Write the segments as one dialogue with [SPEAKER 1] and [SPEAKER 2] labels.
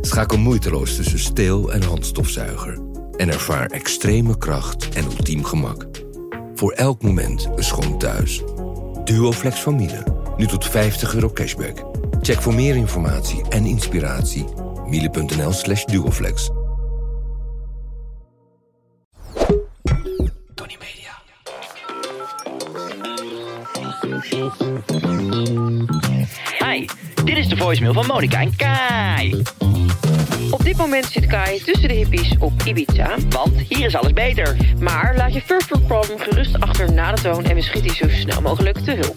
[SPEAKER 1] Schakel moeiteloos tussen steel- en handstofzuiger en ervaar extreme kracht en ultiem gemak. Voor elk moment een schoon thuis. Duoflex van Miele, nu tot 50 euro cashback. Check voor meer informatie en inspiratie miele.nl slash duoflex.
[SPEAKER 2] Tony Media.
[SPEAKER 3] Hi, dit is de voicemail van Monica en Kai.
[SPEAKER 4] Op dit moment zit Kai tussen de hippies op Ibiza.
[SPEAKER 3] Want hier is alles beter.
[SPEAKER 4] Maar laat je First World Problem gerust achter na de toon en we schieten je zo snel mogelijk te hulp.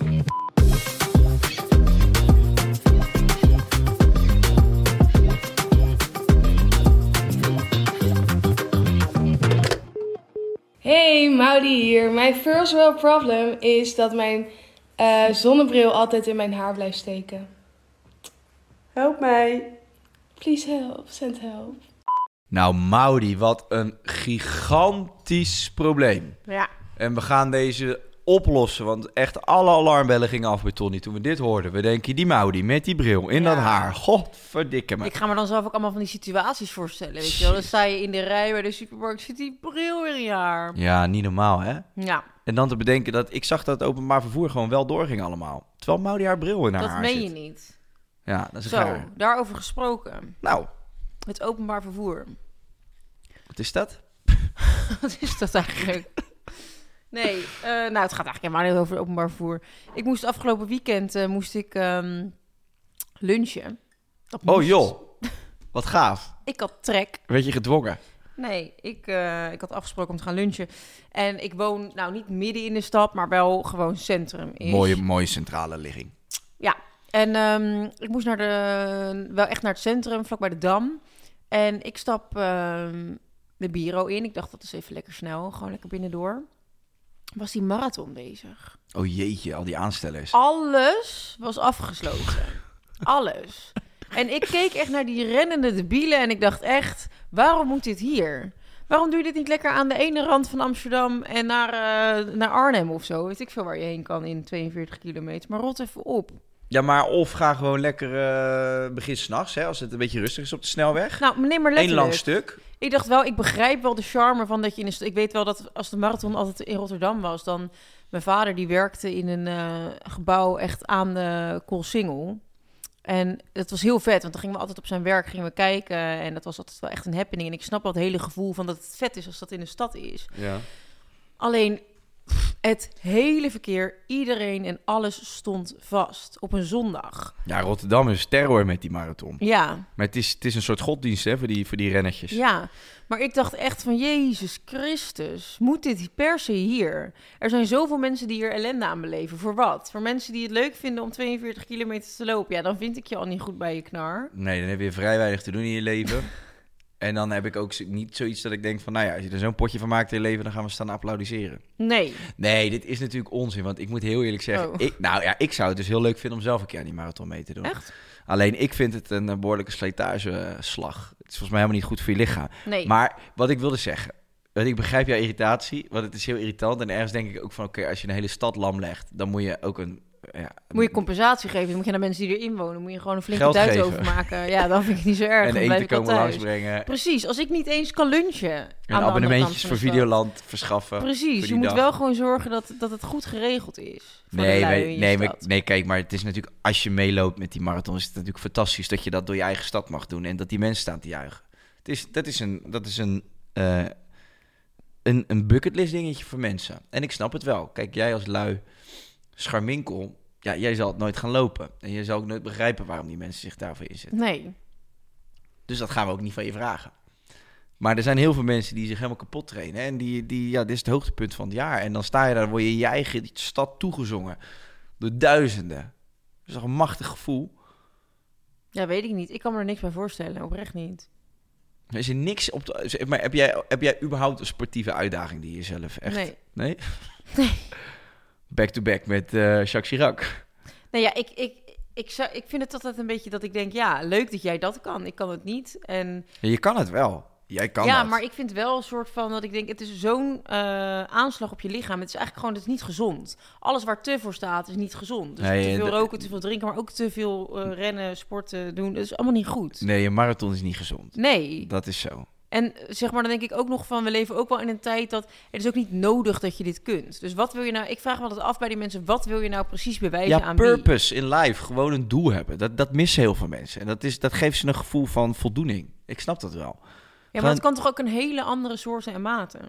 [SPEAKER 5] Hey, Maudi hier. Mijn first world problem is dat mijn eh, zonnebril altijd in mijn haar blijft steken. Help mij. Please help, send help.
[SPEAKER 6] Nou, Maudi, wat een gigantisch probleem.
[SPEAKER 5] Ja.
[SPEAKER 6] En we gaan deze oplossen, want echt alle alarmbellen gingen af bij Tony toen we dit hoorden. We denken, die Maudi met die bril in dat
[SPEAKER 7] Ja.
[SPEAKER 6] haar. Godverdikke me.
[SPEAKER 7] Ik ga me dan zelf ook allemaal van die situaties voorstellen. Weet je wel, dan sta je in de rij bij de supermarkt, zit die bril weer in je haar.
[SPEAKER 6] Ja, niet normaal, hè?
[SPEAKER 7] Ja,
[SPEAKER 6] En dan te bedenken dat ik zag dat het openbaar vervoer gewoon wel doorging allemaal. Terwijl Maudi haar bril in haar
[SPEAKER 7] dat
[SPEAKER 6] haar
[SPEAKER 7] meen je
[SPEAKER 6] zit.
[SPEAKER 7] niet.
[SPEAKER 6] Ja, dat is
[SPEAKER 7] Zo,
[SPEAKER 6] raar.
[SPEAKER 7] daarover gesproken.
[SPEAKER 6] Nou,
[SPEAKER 7] Het openbaar vervoer.
[SPEAKER 6] wat is dat?
[SPEAKER 7] Wat is dat eigenlijk? Nee, eh, nou, het gaat eigenlijk helemaal niet over het openbaar vervoer. Ik moest afgelopen weekend eh, moest ik ehm, lunchen. Dat
[SPEAKER 6] Oh
[SPEAKER 7] moest.
[SPEAKER 6] joh, wat gaaf.
[SPEAKER 7] Ik had trek.
[SPEAKER 6] Weet je gedwongen?
[SPEAKER 7] Nee, ik, eh, ik had afgesproken om te gaan lunchen. En ik woon nou niet midden in de stad, maar wel gewoon centrum. is.
[SPEAKER 6] Mooie, mooie centrale ligging.
[SPEAKER 7] En ehm, ik moest naar de, wel echt naar het centrum, vlakbij de Dam. En ik stap ehm, de bureau in. Ik dacht, dat is even lekker snel, gewoon lekker binnendoor. Was die marathon bezig?
[SPEAKER 6] Oh jeetje, al die aanstellers.
[SPEAKER 7] Alles was afgesloten. Alles. En ik keek echt naar die rennende debielen en ik dacht echt, waarom moet dit hier? Waarom doe je dit niet lekker aan de ene rand van Amsterdam en naar, eh, naar Arnhem of zo? Weet ik veel waar je heen kan in 42 kilometer. Maar rot even op.
[SPEAKER 6] Ja, maar of ga gewoon lekker eh begin s'nachts, als het een beetje rustig is op de snelweg.
[SPEAKER 7] Nou, neem maar
[SPEAKER 6] Eén
[SPEAKER 7] letterlijk.
[SPEAKER 6] lang stuk.
[SPEAKER 7] Ik dacht wel, ik begrijp wel de charme van dat je in de st- Ik weet wel dat als de marathon altijd in Rotterdam was, dan... Mijn vader die werkte in een eh, gebouw echt aan de Koolsingel. En dat was heel vet, want dan gingen we altijd op zijn werk gingen we kijken. En dat was altijd wel echt een happening. En ik snap wel het hele gevoel van dat het vet is als dat in de stad is.
[SPEAKER 6] Ja.
[SPEAKER 7] Alleen pff, het hele verkeer, iedereen en alles stond vast op een zondag.
[SPEAKER 6] ja, Rotterdam is terror met die marathon.
[SPEAKER 7] Ja,
[SPEAKER 6] Maar het is, het is een soort goddienst hè, voor, die, voor die rennetjes.
[SPEAKER 7] Ja, maar ik dacht echt van Jezus Christus, moet dit per se hier? Er zijn zoveel mensen die hier ellende aan beleven. Voor wat? Voor mensen die het leuk vinden om 42 kilometer te lopen. Ja, dan vind ik je al niet goed bij je knar.
[SPEAKER 6] Nee, dan heb je vrij weinig te doen in je leven. en dan heb ik ook z- niet zoiets dat ik denk van, nou ja, als je er zo'n potje van maakt in je leven, dan gaan we staan applaudisseren.
[SPEAKER 7] Nee.
[SPEAKER 6] Nee, dit is natuurlijk onzin, want ik moet heel eerlijk zeggen,
[SPEAKER 7] Oh.
[SPEAKER 6] ik, nou ja, ik zou het dus heel leuk vinden om zelf een keer aan die marathon mee te doen.
[SPEAKER 7] Echt?
[SPEAKER 6] Alleen ik vind het een eh, behoorlijke slijtageslag. Het is volgens mij helemaal niet goed voor je lichaam.
[SPEAKER 7] Nee.
[SPEAKER 6] Maar wat ik wilde zeggen. Want ik begrijp jouw irritatie, want het is heel irritant. En ergens denk ik ook van, oké, als je een hele stad lam legt... dan moet je ook een... Ja,
[SPEAKER 7] moet je compensatie geven? Dan moet je naar mensen die erin wonen. Moet je gewoon een flinke
[SPEAKER 6] Geld
[SPEAKER 7] duit
[SPEAKER 6] geven.
[SPEAKER 7] overmaken. Ja, dan vind ik het niet zo erg.
[SPEAKER 6] en
[SPEAKER 7] dan blijf
[SPEAKER 6] eten
[SPEAKER 7] ik al
[SPEAKER 6] komen
[SPEAKER 7] thuis.
[SPEAKER 6] langsbrengen.
[SPEAKER 7] Precies, als ik niet eens kan lunchen. aan de
[SPEAKER 6] En
[SPEAKER 7] andere
[SPEAKER 6] abonnementjes
[SPEAKER 7] kant van
[SPEAKER 6] voor
[SPEAKER 7] de stad.
[SPEAKER 6] Videoland verschaffen. voor
[SPEAKER 7] Precies, je
[SPEAKER 6] die
[SPEAKER 7] moet
[SPEAKER 6] dag.
[SPEAKER 7] wel gewoon zorgen dat, dat het goed geregeld is. voor de
[SPEAKER 6] Nee,
[SPEAKER 7] lui
[SPEAKER 6] maar-
[SPEAKER 7] in je
[SPEAKER 6] nee, maar,
[SPEAKER 7] stad.
[SPEAKER 6] nee, kijk, maar het is natuurlijk... als je meeloopt met die marathon... is het natuurlijk fantastisch dat je dat door je eigen stad mag doen... en dat die mensen staan te juichen. Het is, dat is een... Dat is een eh, een, een bucketlist dingetje voor mensen. En ik snap het wel. Kijk, jij als lui scharminkel... Ja, jij zal het nooit gaan lopen. En jij zal ook nooit begrijpen waarom die mensen zich daarvoor inzetten.
[SPEAKER 7] Nee.
[SPEAKER 6] Dus dat gaan we ook niet van je vragen. Maar er zijn heel veel mensen die zich helemaal kapot trainen. En die, die, ja, dit is het hoogtepunt van het jaar. En dan sta je daar, dan word je in je eigen stad toegezongen. Door duizenden. Dat is toch een machtig gevoel.
[SPEAKER 7] Ja, weet ik niet. Ik kan me er niks bij voorstellen, oprecht niet.
[SPEAKER 6] Er is er niks op de, zeg maar heb jij, heb jij überhaupt een sportieve uitdaging die jezelf echt...
[SPEAKER 7] Nee.
[SPEAKER 6] Nee? Back-to-back met eh Jacques Chirac.
[SPEAKER 7] Nou ja, ik, ik, ik, zou, ik vind het altijd een beetje dat ik denk, ja, leuk dat jij dat kan. Ik kan het niet. En
[SPEAKER 6] Ja, je kan het wel. Jij kan
[SPEAKER 7] ja,
[SPEAKER 6] dat.
[SPEAKER 7] maar ik vind wel een soort van dat ik denk, het is zo'n eh, aanslag op je lichaam. Het is eigenlijk gewoon, het is niet gezond. Alles waar te voor staat is niet gezond. Dus
[SPEAKER 6] Nee,
[SPEAKER 7] te veel
[SPEAKER 6] de-
[SPEAKER 7] roken, te veel drinken, maar ook te veel eh, rennen, sporten doen. Dat is allemaal niet goed.
[SPEAKER 6] Nee, je marathon is niet gezond.
[SPEAKER 7] Nee.
[SPEAKER 6] Dat is zo.
[SPEAKER 7] En eh, zeg maar, dan denk ik ook nog van, we leven ook wel in een tijd dat het is ook niet nodig dat je dit kunt. Dus wat wil je nou, ik vraag me altijd af bij die mensen, wat wil je nou precies bewijzen
[SPEAKER 6] Ja,
[SPEAKER 7] aan wie?
[SPEAKER 6] purpose in life. Gewoon een doel hebben. Dat, dat missen heel veel mensen. En dat, is, dat geeft ze een gevoel van voldoening. Ik snap dat wel.
[SPEAKER 7] Ja, maar
[SPEAKER 6] Gewoon-
[SPEAKER 7] het kan toch ook een hele andere soort zijn en mate?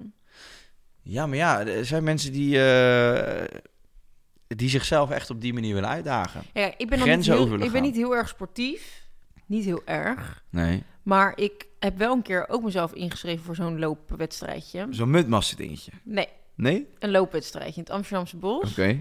[SPEAKER 6] Ja, maar ja, er zijn mensen die, eh, die zichzelf echt op die manier willen uitdagen.
[SPEAKER 7] Ja, ik ben, dan niet
[SPEAKER 6] Grenzen
[SPEAKER 7] heel,
[SPEAKER 6] over willen
[SPEAKER 7] ik ben
[SPEAKER 6] gaan.
[SPEAKER 7] niet heel erg sportief. Niet heel erg.
[SPEAKER 6] Nee.
[SPEAKER 7] Maar ik heb wel een keer ook mezelf ingeschreven voor zo'n loopwedstrijdje.
[SPEAKER 6] Zo'n mutmassen dingetje.
[SPEAKER 7] Nee,
[SPEAKER 6] Nee?
[SPEAKER 7] een loopwedstrijdje in het Amsterdamse bos.
[SPEAKER 6] Oké.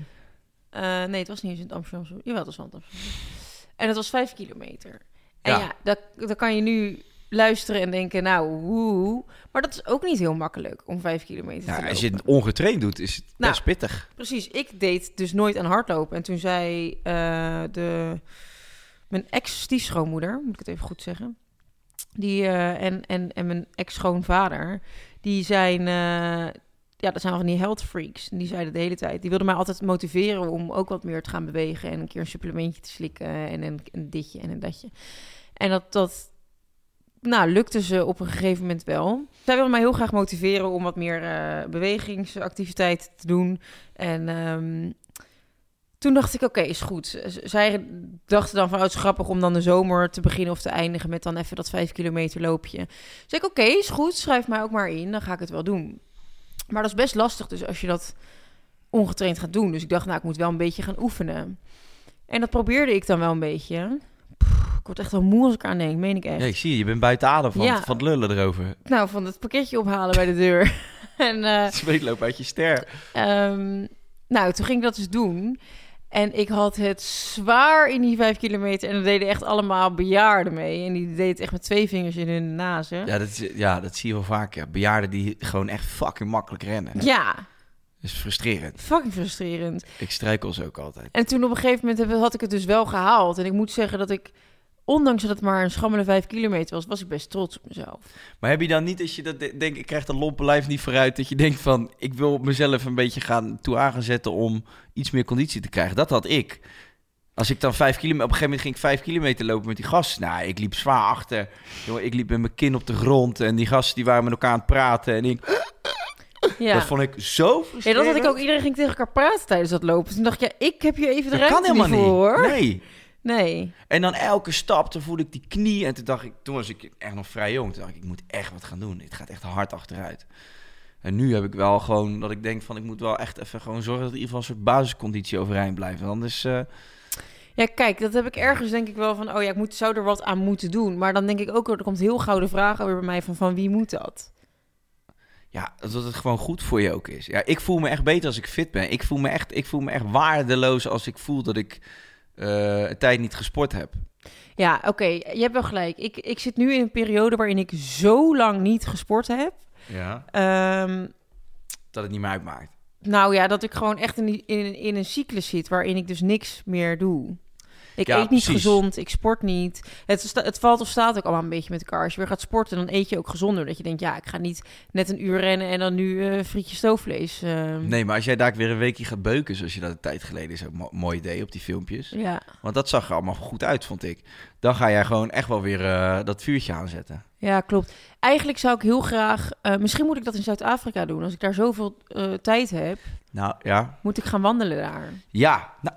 [SPEAKER 7] Eh, nee, het was niet eens in het Amsterdamse bos. Jawel, het was wel in het Amsterdamse bos. En het was vijf kilometer. En
[SPEAKER 6] Ja.
[SPEAKER 7] ja, dat, dan kan je nu luisteren en denken, nou, hoe. Maar dat is ook niet heel makkelijk om vijf kilometer te
[SPEAKER 6] Ja,
[SPEAKER 7] lopen.
[SPEAKER 6] als je het ongetraind doet, is het
[SPEAKER 7] Nou.
[SPEAKER 6] best pittig.
[SPEAKER 7] Precies, ik deed dus nooit aan hardlopen. En toen zei eh, de, mijn ex-stiefschoonmoeder, moet ik het even goed zeggen... Die, eh, en, en, en mijn ex-schoonvader, die zijn... eh, ja, dat zijn van die health freaks. En die zeiden de hele tijd... Die wilden mij altijd motiveren om ook wat meer te gaan bewegen... en een keer een supplementje te slikken en een, een ditje en een datje. En dat, dat nou, lukte ze op een gegeven moment wel. Zij wilden mij heel graag motiveren om wat meer eh bewegingsactiviteit te doen... En ehm, toen dacht ik, oké, is goed. Z- Zij dachten dan van, oh, het is grappig om dan de zomer te beginnen of te eindigen met dan even dat vijf kilometer loopje. Dus ik, oké, is goed, schrijf mij ook maar in, dan ga ik het wel doen. Maar dat is best lastig dus als je dat ongetraind gaat doen. Dus ik dacht, nou, ik moet wel een beetje gaan oefenen. En dat probeerde ik dan wel een beetje. Pff, ik word echt wel moe als ik aan denk, meen ik echt
[SPEAKER 6] Ja, ik zie je. Je bent buiten adem van,
[SPEAKER 7] Ja.
[SPEAKER 6] van het lullen erover.
[SPEAKER 7] nou, van het pakketje ophalen bij de deur. en, eh,
[SPEAKER 6] Zweet loopt uit je ster.
[SPEAKER 7] ehm, nou, toen ging ik dat dus doen. En ik had het zwaar in die vijf kilometer. En er deden echt allemaal bejaarden mee. En die deden het echt met twee vingers in hun nazen. Ja.
[SPEAKER 6] Ja dat, is, ja, dat zie je wel vaak. Ja. Bejaarden die gewoon echt fucking makkelijk rennen. Dat is frustrerend.
[SPEAKER 7] fucking frustrerend.
[SPEAKER 6] Ik strijkel ze ook altijd.
[SPEAKER 7] En toen op een gegeven moment heb- had ik het dus wel gehaald. En ik moet zeggen dat ik, ondanks dat het maar een schammele vijf kilometer was, was ik best trots op mezelf.
[SPEAKER 6] Maar heb je dan niet, als je dat de- denkt, ik krijg de lompe lijf niet vooruit, dat je denkt van, ik wil mezelf een beetje gaan toe aanzetten om iets meer conditie te krijgen. Dat had ik. Als ik dan vijf kilometer, op een gegeven moment ging ik vijf kilometer lopen met die gasten. Nou, ik liep zwaar achter. Jongen, ik liep met mijn kin op de grond en die gasten die waren met elkaar aan het praten. En ik,
[SPEAKER 7] Ja.
[SPEAKER 6] dat vond ik zo frustrerend.
[SPEAKER 7] ja, dat had ik ook. Iedereen ging tegen elkaar praten tijdens dat lopen. Dus Toen dacht ik, ja, ik heb hier even de
[SPEAKER 6] Dat kan
[SPEAKER 7] ruimte
[SPEAKER 6] helemaal
[SPEAKER 7] niet
[SPEAKER 6] niet.
[SPEAKER 7] voor, hoor.
[SPEAKER 6] Nee.
[SPEAKER 7] Nee.
[SPEAKER 6] En dan elke stap, toen voelde ik die knie. En toen dacht ik, toen was ik echt nog vrij jong. Toen dacht ik, ik moet echt wat gaan doen. Het gaat echt hard achteruit. En nu heb ik wel gewoon dat ik denk van, ik moet wel echt even gewoon zorgen dat in ieder geval een soort basisconditie overeind blijft. Want Anders, eh,
[SPEAKER 7] Ja, kijk, dat heb ik ergens denk ik wel van, oh ja, ik moet, zou er wat aan moeten doen. Maar dan denk ik ook, er komt heel gauw de vraag alweer bij mij van, van wie moet dat?
[SPEAKER 6] ja, dat het gewoon goed voor je ook is. Ja, ik voel me echt beter als ik fit ben. Ik voel me echt, ik voel me echt waardeloos als ik voel dat ik eh, een tijd niet gesport heb.
[SPEAKER 7] Ja, oké, je hebt wel gelijk. Ik, ik zit nu in een periode waarin ik zo lang niet gesport heb.
[SPEAKER 6] Ja.
[SPEAKER 7] Ehm,
[SPEAKER 6] Dat het niet meer uitmaakt.
[SPEAKER 7] nou ja, dat ik gewoon echt in, die- in, in een cyclus zit waarin ik dus niks meer doe. Ik
[SPEAKER 6] Ja,
[SPEAKER 7] eet niet
[SPEAKER 6] precies.
[SPEAKER 7] gezond, ik sport niet. Het, sta- het valt of staat ook allemaal een beetje met elkaar. Als je weer gaat sporten, dan eet je ook gezonder. Dat je denkt, ja, ik ga niet net een uur rennen en dan nu eh frietje stoofvlees. ehm.
[SPEAKER 6] Nee, maar als jij daar weer een weekje gaat beuken, zoals je dat een tijd geleden is, ook mo- mooi deed op die filmpjes.
[SPEAKER 7] Ja.
[SPEAKER 6] Want dat zag er allemaal goed uit, vond ik. Dan ga jij gewoon echt wel weer eh, dat vuurtje aanzetten.
[SPEAKER 7] Ja, klopt. Eigenlijk zou ik heel graag... eh, misschien moet ik dat in Zuid-Afrika doen. Als ik daar zoveel eh, tijd heb,
[SPEAKER 6] Nou, ja.
[SPEAKER 7] moet ik gaan wandelen daar.
[SPEAKER 6] Ja, nou,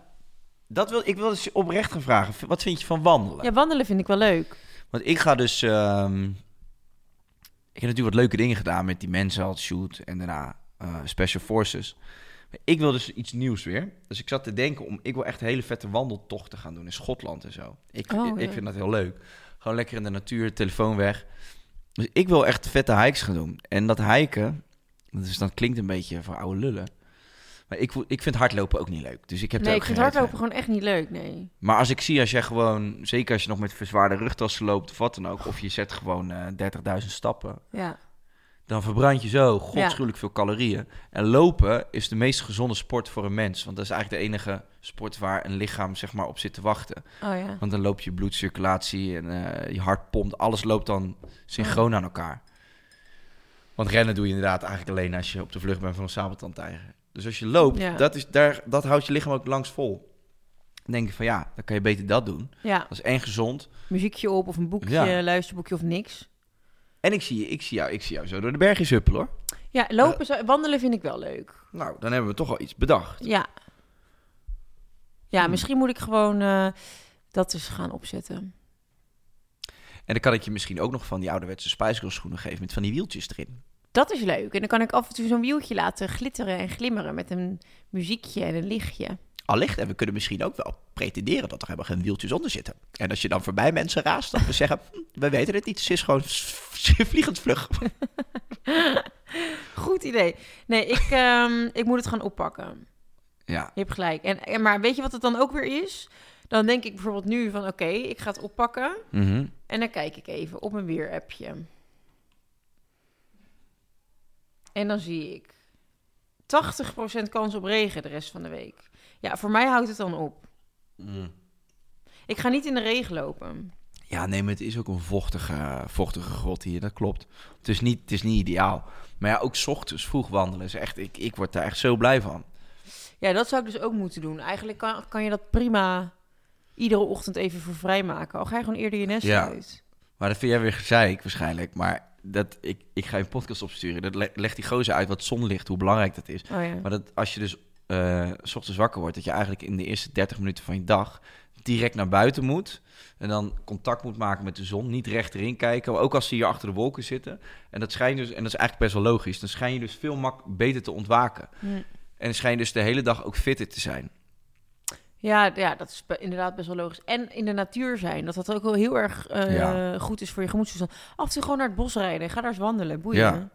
[SPEAKER 6] dat wil, ik wil dus oprecht gaan vragen. V- Wat vind je van wandelen?
[SPEAKER 7] Ja, wandelen vind ik wel leuk.
[SPEAKER 6] Want ik ga dus... ehm, ik heb natuurlijk wat leuke dingen gedaan met die mensen, als shoot en daarna eh, Special Forces. Maar ik wil dus iets nieuws weer. Dus ik zat te denken om... Ik wil echt hele vette wandeltochten gaan doen in Schotland en zo. Ik,
[SPEAKER 7] Oh,
[SPEAKER 6] ik, ik
[SPEAKER 7] leuk.
[SPEAKER 6] vind dat heel leuk. Gewoon lekker in de natuur, telefoon weg. Dus ik wil echt vette hikes gaan doen. En dat hiken, dat, is, dat klinkt een beetje voor oude lullen. Maar ik, vo- ik vind hardlopen ook niet leuk. Dus ik heb daar
[SPEAKER 7] nee,
[SPEAKER 6] ook
[SPEAKER 7] ik vind
[SPEAKER 6] geen reet
[SPEAKER 7] hardlopen
[SPEAKER 6] mee.
[SPEAKER 7] gewoon echt niet leuk, nee.
[SPEAKER 6] Maar als ik zie, als jij gewoon, zeker als je nog met verzwaarde rugtassen loopt of wat dan ook, of je zet gewoon eh 30.000 stappen,
[SPEAKER 7] Ja.
[SPEAKER 6] dan verbrand je zo godschuwelijk veel calorieën. En lopen is de meest gezonde sport voor een mens. Want dat is eigenlijk de enige sport waar een lichaam zeg maar, op zit te wachten.
[SPEAKER 7] Oh ja.
[SPEAKER 6] Want dan loopt je bloedcirculatie en eh, je hart pompt. Alles loopt dan synchroon aan elkaar. Want rennen doe je inderdaad eigenlijk alleen als je op de vlucht bent van een sabeltandtijger. Dus als je loopt,
[SPEAKER 7] Ja.
[SPEAKER 6] dat, is, daar, dat houdt je lichaam ook langs vol. Dan denk je van ja, dan kan je beter dat doen.
[SPEAKER 7] Ja,
[SPEAKER 6] Dat is en gezond.
[SPEAKER 7] muziekje op of een boekje,
[SPEAKER 6] Ja.
[SPEAKER 7] luisterboekje of niks.
[SPEAKER 6] En ik zie, ik, zie jou, ik zie jou zo door de bergjes huppelen hoor.
[SPEAKER 7] Ja, lopen, zou- wandelen vind ik wel leuk.
[SPEAKER 6] Nou, dan hebben we toch al iets bedacht.
[SPEAKER 7] Ja. Ja,
[SPEAKER 6] Hmm.
[SPEAKER 7] misschien moet ik gewoon eh, dat eens gaan opzetten.
[SPEAKER 6] En dan kan ik je misschien ook nog van die ouderwetse Spice Girls schoenen geven met van die wieltjes erin.
[SPEAKER 7] Dat is leuk. En dan kan ik af en toe zo'n wieltje laten glitteren en glimmeren met een muziekje en een lichtje.
[SPEAKER 6] Allicht, en we kunnen misschien ook wel pretenderen dat er helemaal geen wieltjes onder zitten. En als je dan voorbij mensen raast, dan we zeggen, "Hm, we weten het niet, ze is gewoon vliegend vlug.
[SPEAKER 7] Goed idee. Nee, ik, ehm, ik moet het gaan oppakken.
[SPEAKER 6] Ja,
[SPEAKER 7] Je hebt gelijk. En, en, maar weet je wat het dan ook weer is? Dan denk ik bijvoorbeeld nu van oké, ik ga het oppakken.
[SPEAKER 6] mhm.
[SPEAKER 7] En dan kijk ik even op mijn weer-appje. En dan zie ik 80% kans op regen de rest van de week. Ja, voor mij houdt het dan op. Ik ga niet in de regen lopen.
[SPEAKER 6] ja nee, maar het is ook een vochtige, vochtige grot hier, dat klopt. Het is niet, het is niet ideaal. Maar ja, ook 's ochtends vroeg wandelen is echt, ik, ik word daar echt zo blij van.
[SPEAKER 7] Ja, dat zou ik dus ook moeten doen. Eigenlijk kan, kan je dat prima iedere ochtend even voor vrijmaken. Al ga je gewoon eerder je nest
[SPEAKER 6] Ja.
[SPEAKER 7] uit.
[SPEAKER 6] Maar dat vind jij weer gezeik waarschijnlijk. Maar dat, ik, ik ga een podcast opsturen. Dat le- legt die gozer uit wat zonlicht, hoe belangrijk dat is.
[SPEAKER 7] Oh ja.
[SPEAKER 6] Maar dat als je dus eh, s ochtends wakker wordt, dat je eigenlijk in de eerste 30 minuten van je dag direct naar buiten moet. En dan contact moet maken met de zon. Niet recht erin kijken. Maar ook als ze hier achter de wolken zitten. En dat schijnt dus, en dat is eigenlijk best wel logisch. Dan schijn je dus veel mak beter te ontwaken.
[SPEAKER 7] Hm.
[SPEAKER 6] En dan schijn je dus de hele dag ook fitter te zijn.
[SPEAKER 7] Ja, d- ja, dat is be- inderdaad best wel logisch. En in de natuur zijn, dat dat ook wel heel erg eh,
[SPEAKER 6] Ja.
[SPEAKER 7] goed is voor je gemoedstoestand. Af en toe gewoon naar het bos rijden, ga daar eens wandelen, boeien.
[SPEAKER 6] Ja.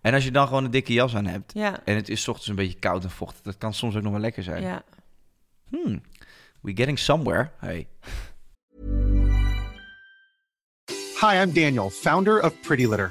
[SPEAKER 6] En als je dan gewoon een dikke jas aan hebt.
[SPEAKER 7] Ja,
[SPEAKER 6] En het is 's ochtends een beetje koud en vochtig. Dat kan soms ook nog wel lekker zijn.
[SPEAKER 7] ja.
[SPEAKER 6] Hmm, we getting somewhere. Hey.
[SPEAKER 8] Hi, I'm Daniel, founder of Pretty Litter.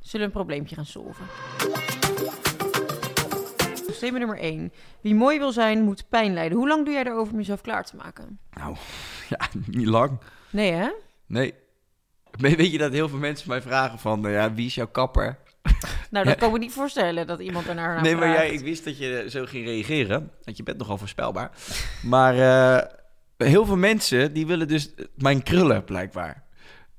[SPEAKER 7] Zullen we een probleempje gaan solven. Thema nummer 1. Wie mooi wil zijn, moet pijn lijden. Hoe lang doe jij erover om jezelf klaar te maken?
[SPEAKER 6] Nou, ja, niet lang.
[SPEAKER 7] Nee, hè?
[SPEAKER 6] Nee. We- Weet je dat heel veel mensen mij vragen van, nou ja, wie is jouw kapper?
[SPEAKER 7] Nou, dat kan ik me niet voorstellen dat iemand daarnaar naar
[SPEAKER 6] nee, maar jij,
[SPEAKER 7] vraagt.
[SPEAKER 6] ik wist dat je zo ging reageren. Want je bent nogal voorspelbaar. Maar eh, heel veel mensen, die willen dus mijn krullen, blijkbaar.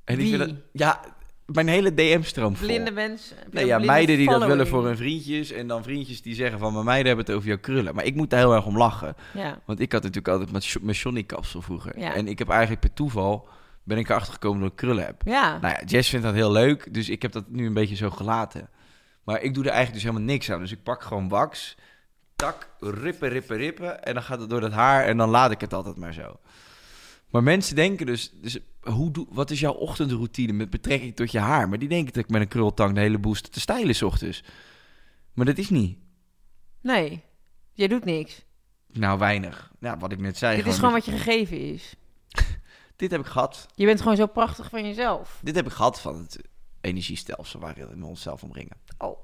[SPEAKER 6] En die
[SPEAKER 7] Wie?
[SPEAKER 6] vinden- ja, mijn hele DM-stroom vol.
[SPEAKER 7] Blinde mensen. heb je
[SPEAKER 6] Nee,
[SPEAKER 7] een
[SPEAKER 6] ja,
[SPEAKER 7] blinde
[SPEAKER 6] meiden die dat willen
[SPEAKER 7] following?
[SPEAKER 6] voor hun vriendjes. En dan vriendjes die zeggen van, mijn meiden hebben het over jouw krullen. Maar ik moet daar heel erg om lachen.
[SPEAKER 7] Ja.
[SPEAKER 6] Want ik had natuurlijk altijd mijn Sho- mijn Johnny-kapsel vroeger.
[SPEAKER 7] Ja.
[SPEAKER 6] En ik heb eigenlijk per toeval, ben ik erachter gekomen dat ik krullen heb.
[SPEAKER 7] Ja.
[SPEAKER 6] Nou ja, Jess vindt dat heel leuk, dus ik heb dat nu een beetje zo gelaten. Maar ik doe er eigenlijk dus helemaal niks aan. Dus ik pak gewoon wax, tak, rippen, rippen, rippen. En dan gaat het door dat haar en dan laat ik het altijd maar zo. Maar mensen denken dus, dus hoe doe, wat is jouw ochtendroutine met betrekking tot je haar? Maar die denken dat ik met een krultang de hele boel sta te stijlen 's ochtends. Maar dat is niet.
[SPEAKER 7] Nee, jij doet niks.
[SPEAKER 6] Nou, weinig. Ja, wat ik net zei.
[SPEAKER 7] Dit is gewoon wat je gegeven is.
[SPEAKER 6] Dit heb ik gehad.
[SPEAKER 7] Je bent gewoon zo prachtig van jezelf.
[SPEAKER 6] Dit heb ik gehad van het energiestelsel waarin we onszelf omringen. Oh.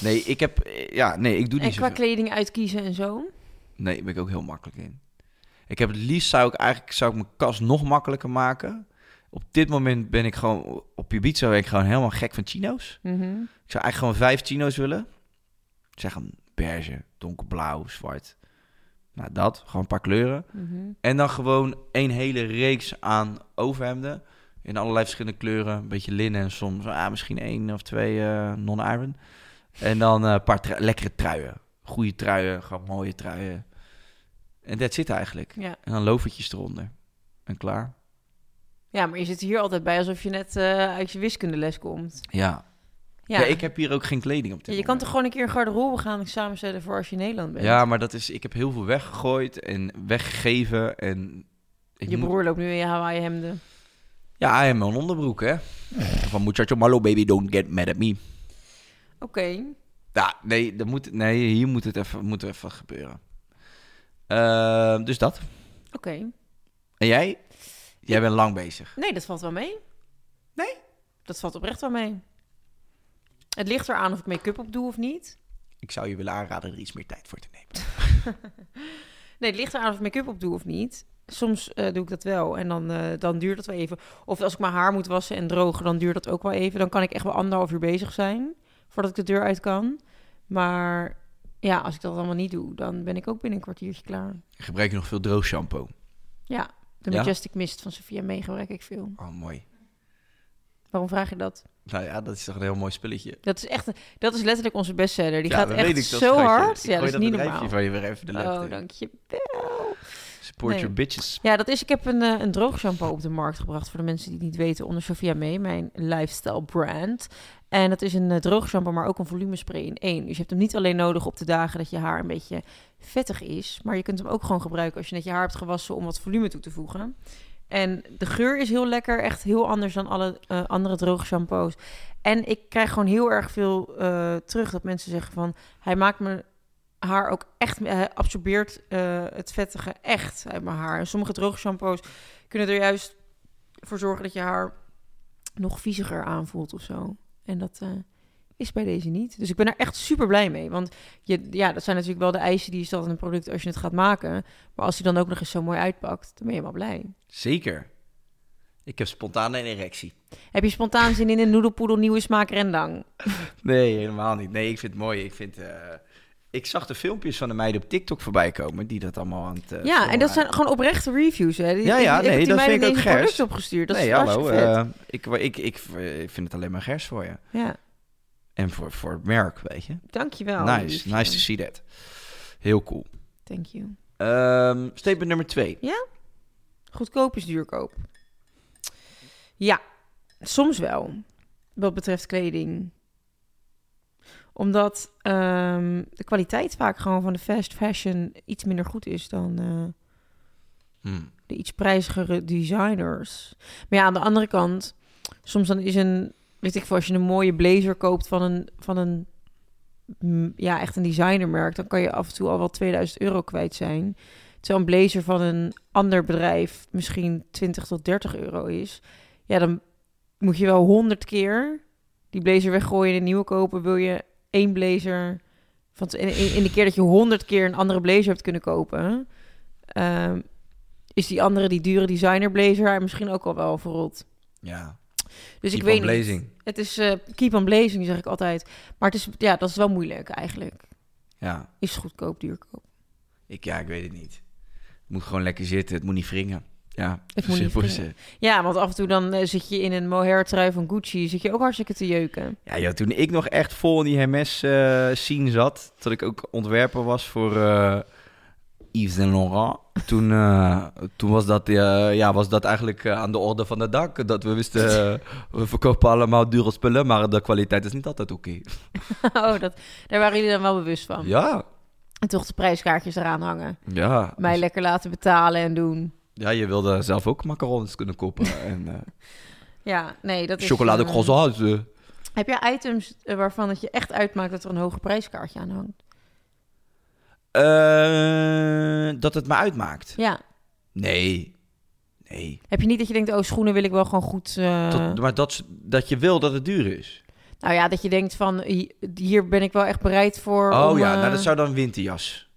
[SPEAKER 6] Nee, ik heb... eh, Ja, nee, ik doe
[SPEAKER 7] En
[SPEAKER 6] niet
[SPEAKER 7] qua
[SPEAKER 6] zoveel.
[SPEAKER 7] kleding uitkiezen en zo.
[SPEAKER 6] Nee, daar ben ik ook heel makkelijk in. Ik heb het liefst zou ik eigenlijk zou ik mijn kast nog makkelijker maken. Op dit moment ben ik gewoon... Op je ben ik gewoon helemaal gek van chino's.
[SPEAKER 7] Mhm.
[SPEAKER 6] Ik zou eigenlijk gewoon vijf chino's willen. Ik zeg een beige, donkerblauw, zwart. Nou,
[SPEAKER 7] Mhm.
[SPEAKER 6] dat. Gewoon een paar kleuren. En dan gewoon een hele reeks aan overhemden. In allerlei verschillende kleuren. Een beetje linnen en soms ah, misschien één of twee eh, non-iron. En dan eh, een paar tru- lekkere truien. Goede truien, gewoon mooie truien. En dat zit eigenlijk.
[SPEAKER 7] Ja.
[SPEAKER 6] En dan lovertjes eronder. En klaar.
[SPEAKER 7] Ja, maar je zit hier altijd bij alsof je net eh, uit je wiskundeles komt.
[SPEAKER 6] Ja.
[SPEAKER 7] Ja.
[SPEAKER 6] Ja, ik heb hier ook geen kleding op dit
[SPEAKER 7] Ja, je kan toch gewoon een keer een garderobe gaan samenstellen voor als je in Nederland bent?
[SPEAKER 6] Ja, maar dat is, ik heb heel veel weggegooid en weggegeven. En ik
[SPEAKER 7] je
[SPEAKER 6] moet-
[SPEAKER 7] broer loopt nu in je Hawaii hemden.
[SPEAKER 6] Ja, en mijn onderbroek, hè.
[SPEAKER 7] Eh.
[SPEAKER 6] Van muchacho malo, baby, don't get mad at me.
[SPEAKER 7] Oké.
[SPEAKER 6] Ja, nee, dat moet, nee hier moet het even, moet er even gebeuren. Ehm, dus dat.
[SPEAKER 7] Oké.
[SPEAKER 6] En jij? Jij bent lang bezig.
[SPEAKER 7] Nee, dat valt wel mee. Nee? Dat valt oprecht wel mee. Het ligt eraan of ik make-up op doe of niet.
[SPEAKER 6] Ik zou je willen aanraden er iets meer tijd voor te nemen.
[SPEAKER 7] Nee, het ligt eraan of ik make-up op doe of niet. Soms eh, doe ik dat wel en dan, eh, dan duurt dat wel even. Of als ik mijn haar moet wassen en drogen, dan duurt dat ook wel even. Dan kan ik echt wel anderhalf uur bezig zijn voordat ik de deur uit kan. Maar ja, als ik dat allemaal niet doe, dan ben ik ook binnen een kwartiertje klaar.
[SPEAKER 6] Gebruik je nog veel droog shampoo?
[SPEAKER 7] Ja, de
[SPEAKER 6] Ja?
[SPEAKER 7] Majestic Mist van Sophia May gebruik ik veel.
[SPEAKER 6] Oh, mooi.
[SPEAKER 7] Waarom vraag je dat?
[SPEAKER 6] Nou ja, dat is toch een heel mooi spelletje.
[SPEAKER 7] Dat is echt, dat is letterlijk onze bestseller. Die
[SPEAKER 6] Ja,
[SPEAKER 7] gaat
[SPEAKER 6] dat
[SPEAKER 7] echt
[SPEAKER 6] weet ik, dat
[SPEAKER 7] zo
[SPEAKER 6] schatje.
[SPEAKER 7] hard.
[SPEAKER 6] Ik
[SPEAKER 7] Ja, dat
[SPEAKER 6] gooi
[SPEAKER 7] is
[SPEAKER 6] dat
[SPEAKER 7] niet
[SPEAKER 6] bedrijfje
[SPEAKER 7] normaal.
[SPEAKER 6] van je weer even de lucht
[SPEAKER 7] Oh,
[SPEAKER 6] in.
[SPEAKER 7] dankjewel.
[SPEAKER 6] Support
[SPEAKER 7] Nee.
[SPEAKER 6] your bitches.
[SPEAKER 7] Ja, dat is. Ik heb een, eh, een droog shampoo op de markt gebracht voor de mensen die het niet weten onder Sophia May, mijn lifestyle brand. En dat is een eh, droog shampoo, maar ook een volumespray in één. Dus je hebt hem niet alleen nodig op de dagen dat je haar een beetje vettig is, maar je kunt hem ook gewoon gebruiken als je net je haar hebt gewassen om wat volume toe te voegen. En de geur is heel lekker, echt heel anders dan alle eh, andere droge shampoos. En ik krijg gewoon heel erg veel eh, terug dat mensen zeggen van... hij maakt mijn haar ook echt... hij absorbeert eh, het vettige echt uit mijn haar. En sommige droge shampoos kunnen er juist voor zorgen... dat je haar nog vieziger aanvoelt of zo. En dat eh, is bij deze niet. Dus ik ben er echt super blij mee. Want je, ja, dat zijn natuurlijk wel de eisen die je stelt aan een product... als je het gaat maken. Maar als hij dan ook nog eens zo mooi uitpakt, dan ben je wel blij.
[SPEAKER 6] Zeker. Ik heb spontaan een erectie.
[SPEAKER 7] Heb je spontaan zin in een noedelpoedel nieuwe smaak rendang?
[SPEAKER 6] Eh, Nee, helemaal niet. Nee, ik vind het mooi. Ik, vind, eh, ik zag de filmpjes van de meiden op TikTok voorbij komen die dat allemaal aan het. eh,
[SPEAKER 7] ja, en
[SPEAKER 6] filmen
[SPEAKER 7] dat zijn gewoon oprechte reviews, hè? Die-
[SPEAKER 6] Ja,
[SPEAKER 7] ik-
[SPEAKER 6] ja,
[SPEAKER 7] ik heb
[SPEAKER 6] nee,
[SPEAKER 7] die
[SPEAKER 6] dat
[SPEAKER 7] meiden
[SPEAKER 6] vind ik ook
[SPEAKER 7] deze
[SPEAKER 6] gers.
[SPEAKER 7] product opgestuurd. Dat
[SPEAKER 6] nee,
[SPEAKER 7] is
[SPEAKER 6] hallo.
[SPEAKER 7] hartstikke vet.
[SPEAKER 6] eh, ik, ik, ik, eh, ik vind het alleen maar gers voor je.
[SPEAKER 7] Ja,
[SPEAKER 6] En voor, voor het merk, weet je.
[SPEAKER 7] dankjewel.
[SPEAKER 6] nice,
[SPEAKER 7] liefje.
[SPEAKER 6] nice to see that. Heel cool.
[SPEAKER 7] Thank you.
[SPEAKER 6] Ehm statement nummer twee.
[SPEAKER 7] Ja? Goedkoop is duurkoop. Ja, soms wel. Wat betreft kleding. Omdat ehm, de kwaliteit vaak gewoon van de fast fashion iets minder goed is dan... eh,
[SPEAKER 6] Hmm.
[SPEAKER 7] de iets prijzigere designers. Maar ja, aan de andere kant, soms dan is een, weet ik veel, als je een mooie blazer koopt van een, van een mm, ja, echt een designermerk, dan kan je af en toe al wel 2000 euro kwijt zijn. Terwijl een blazer van een ander bedrijf misschien 20 tot 30 euro is. Ja, dan moet je wel 100 keer die blazer weggooien en een nieuwe kopen. Wil je één blazer van in, in in de keer dat je 100 keer een andere blazer hebt kunnen kopen, ehm, is die andere, die dure designer blazer, misschien ook al wel verrot.
[SPEAKER 6] Ja.
[SPEAKER 7] Dus
[SPEAKER 6] Keep
[SPEAKER 7] ik
[SPEAKER 6] on
[SPEAKER 7] weet
[SPEAKER 6] blazing.
[SPEAKER 7] niet. Het is eh, keep on blazing, zeg ik altijd. Maar het is, ja, dat is wel moeilijk eigenlijk.
[SPEAKER 6] Ja.
[SPEAKER 7] Is goedkoop, duurkoop.
[SPEAKER 6] Ik, ja, ik weet het niet. Het moet gewoon lekker zitten. Het moet niet wringen. Ja,
[SPEAKER 7] Het moet niet
[SPEAKER 6] simpel is
[SPEAKER 7] wringen.
[SPEAKER 6] het.
[SPEAKER 7] Ja, want af en toe dan eh, zit je in een mohair trui van Gucci, zit je ook hartstikke te jeuken.
[SPEAKER 6] Ja, joh, toen ik nog echt vol in die Hermes-scene zat, dat ik ook ontwerper was voor eh, Yves Saint Laurent, toen, eh, toen was, dat, eh, ja, was dat eigenlijk eh, aan de orde van de dag. Dat we wisten, eh, we verkopen allemaal dure spullen, maar de kwaliteit is niet altijd oké.
[SPEAKER 7] oh, dat, daar waren jullie dan wel bewust van.
[SPEAKER 6] Ja,
[SPEAKER 7] En toch de prijskaartjes eraan hangen.
[SPEAKER 6] ja. Dus,
[SPEAKER 7] Mij lekker laten betalen en doen.
[SPEAKER 6] ja, je wilde zelf ook macarons kunnen kopen. en eh
[SPEAKER 7] Ja, nee, dat is...
[SPEAKER 6] chocolade
[SPEAKER 7] eh,
[SPEAKER 6] croissants. eh.
[SPEAKER 7] Heb jij items eh, waarvan het je echt uitmaakt dat er een hoger prijskaartje aan hangt?
[SPEAKER 6] Eh, dat het me uitmaakt.
[SPEAKER 7] Ja.
[SPEAKER 6] Nee, nee.
[SPEAKER 7] Heb je niet dat je denkt, oh, schoenen wil ik wel gewoon goed... eh,
[SPEAKER 6] Dat- maar dat, dat je wil dat het duur is.
[SPEAKER 7] Nou ja, dat je denkt van, hi- hier ben ik wel echt bereid voor
[SPEAKER 6] Oh
[SPEAKER 7] om,
[SPEAKER 6] ja,
[SPEAKER 7] eh,
[SPEAKER 6] nou, dat zou dan winterjas.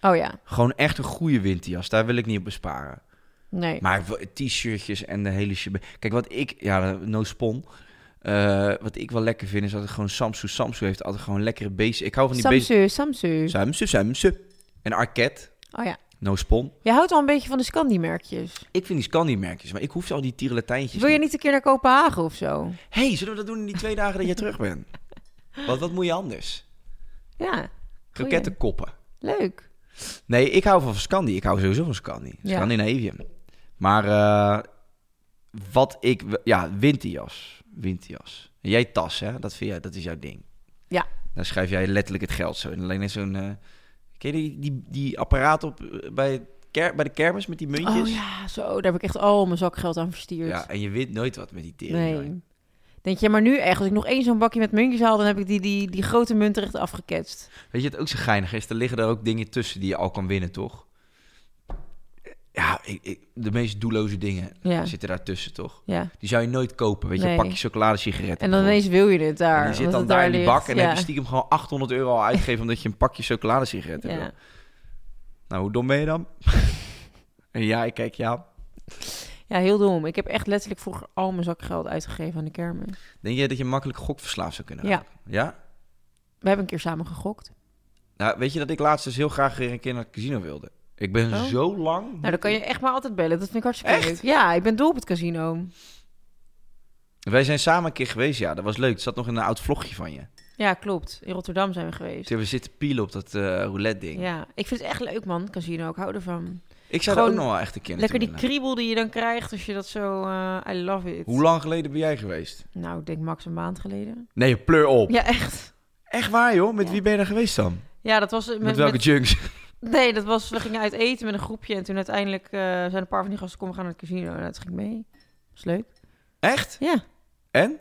[SPEAKER 7] Oh ja,
[SPEAKER 6] Gewoon echt een goede winterjas. Daar wil ik niet op besparen.
[SPEAKER 7] nee.
[SPEAKER 6] Maar w- t-shirtjes en de hele shit. Kijk, wat ik... Ja, no spon. Eh, wat ik wel lekker vind is dat het gewoon Samsung... Samsung heeft altijd gewoon lekkere beesten. Ik hou van die beesten.
[SPEAKER 7] Samsung, Samsung.
[SPEAKER 6] Samsung, Samsung. En Arquette.
[SPEAKER 7] Oh ja,
[SPEAKER 6] No spon.
[SPEAKER 7] Jij houdt al een beetje van de Scandi-merkjes.
[SPEAKER 6] Ik vind die Scandi-merkjes, maar ik hoef al die tierenlatijntjes.
[SPEAKER 7] Wil je niet een keer naar Kopenhagen of zo?
[SPEAKER 6] Hé, hey, zullen we dat doen in die twee dagen dat je terug bent? Wat, wat moet je anders?
[SPEAKER 7] Ja.
[SPEAKER 6] Kroketten koppen.
[SPEAKER 7] Leuk.
[SPEAKER 6] Nee, ik hou van Scandi. Ik hou sowieso van Scandi.
[SPEAKER 7] Ja.
[SPEAKER 6] Scandinavium. Maar eh, wat ik... Ja, winterjas. Winterjas. Jij tas, hè? Dat, vind jij, dat is jouw ding.
[SPEAKER 7] Ja.
[SPEAKER 6] Dan schrijf jij letterlijk het geld zo. in. alleen net zo'n... eh, ken je die, die, die apparaat op, eh, bij, het ker, bij de kermis met die muntjes?
[SPEAKER 7] Oh ja, zo. Daar heb ik echt al mijn zakgeld aan verstuurd.
[SPEAKER 6] Ja, en je wint nooit wat met die tering. joh.
[SPEAKER 7] nee. Denk je, maar nu echt, als ik nog één zo'n bakje met muntjes haal, dan heb ik die, die, die grote munt er echt afgeketst.
[SPEAKER 6] Weet je het ook zo geinig is? Er liggen daar ook dingen tussen die je al kan winnen, toch? Ja, ik, ik- de meest doelloze dingen
[SPEAKER 7] Ja.
[SPEAKER 6] zitten daar tussen, toch?
[SPEAKER 7] Ja.
[SPEAKER 6] Die zou je nooit kopen. Weet je,
[SPEAKER 7] Nee.
[SPEAKER 6] een pakje chocoladesigaretten.
[SPEAKER 7] En dan ineens wil je dit daar.
[SPEAKER 6] je zit
[SPEAKER 7] omdat
[SPEAKER 6] dan
[SPEAKER 7] het
[SPEAKER 6] daar in die
[SPEAKER 7] ligt.
[SPEAKER 6] bak en dan heb je stiekem gewoon 800 euro al uitgegeven omdat je een pakje chocoladesigaretten
[SPEAKER 7] Ja.
[SPEAKER 6] wil. Nou, hoe dom ben je dan? en ja, ik kijk ja.
[SPEAKER 7] Ja, heel dom. Ik heb echt letterlijk vroeger al mijn zakgeld uitgegeven aan de kermis.
[SPEAKER 6] Denk je dat je makkelijk gokverslaafd zou kunnen
[SPEAKER 7] Ja.
[SPEAKER 6] raken? Ja?
[SPEAKER 7] We hebben een keer samen gegokt.
[SPEAKER 6] Nou, weet je dat ik laatst dus heel graag weer een keer naar het casino wilde? Ik ben
[SPEAKER 7] Oh.
[SPEAKER 6] zo lang...
[SPEAKER 7] Nou, dan kan je echt maar altijd bellen. Dat vind ik hartstikke leuk. Ja, ik ben dol op het casino.
[SPEAKER 6] Wij zijn samen een keer geweest, ja. Dat was leuk. Het zat nog in een eh, oud vlogje van je.
[SPEAKER 7] Ja, klopt. In Rotterdam zijn we
[SPEAKER 6] Toen
[SPEAKER 7] geweest.
[SPEAKER 6] hebben we zitten pielen op dat eh, roulette ding.
[SPEAKER 7] Ja, ik vind het echt leuk, man. Casino, ik hou ervan.
[SPEAKER 6] Ik zou er ook
[SPEAKER 7] Gewoon
[SPEAKER 6] nog wel echt een keer
[SPEAKER 7] Lekker die
[SPEAKER 6] naartoe willen.
[SPEAKER 7] kriebel die je dan krijgt als je dat zo... eh, I love it.
[SPEAKER 6] Hoe lang geleden ben jij geweest?
[SPEAKER 7] Nou, ik denk max een maand geleden.
[SPEAKER 6] Nee, pleur op.
[SPEAKER 7] Ja, echt.
[SPEAKER 6] Echt waar, joh? Met wie ben je daar geweest dan? Met,
[SPEAKER 7] Ja, dat was... eh, Met,
[SPEAKER 6] welke
[SPEAKER 7] met-
[SPEAKER 6] junks?
[SPEAKER 7] Nee, dat was... We gingen uit eten met een groepje. En toen uiteindelijk eh, zijn een paar van die gasten... Kom, we gaan naar het casino. En dat ging ik mee. was leuk.
[SPEAKER 6] Echt?
[SPEAKER 7] Ja.
[SPEAKER 6] En?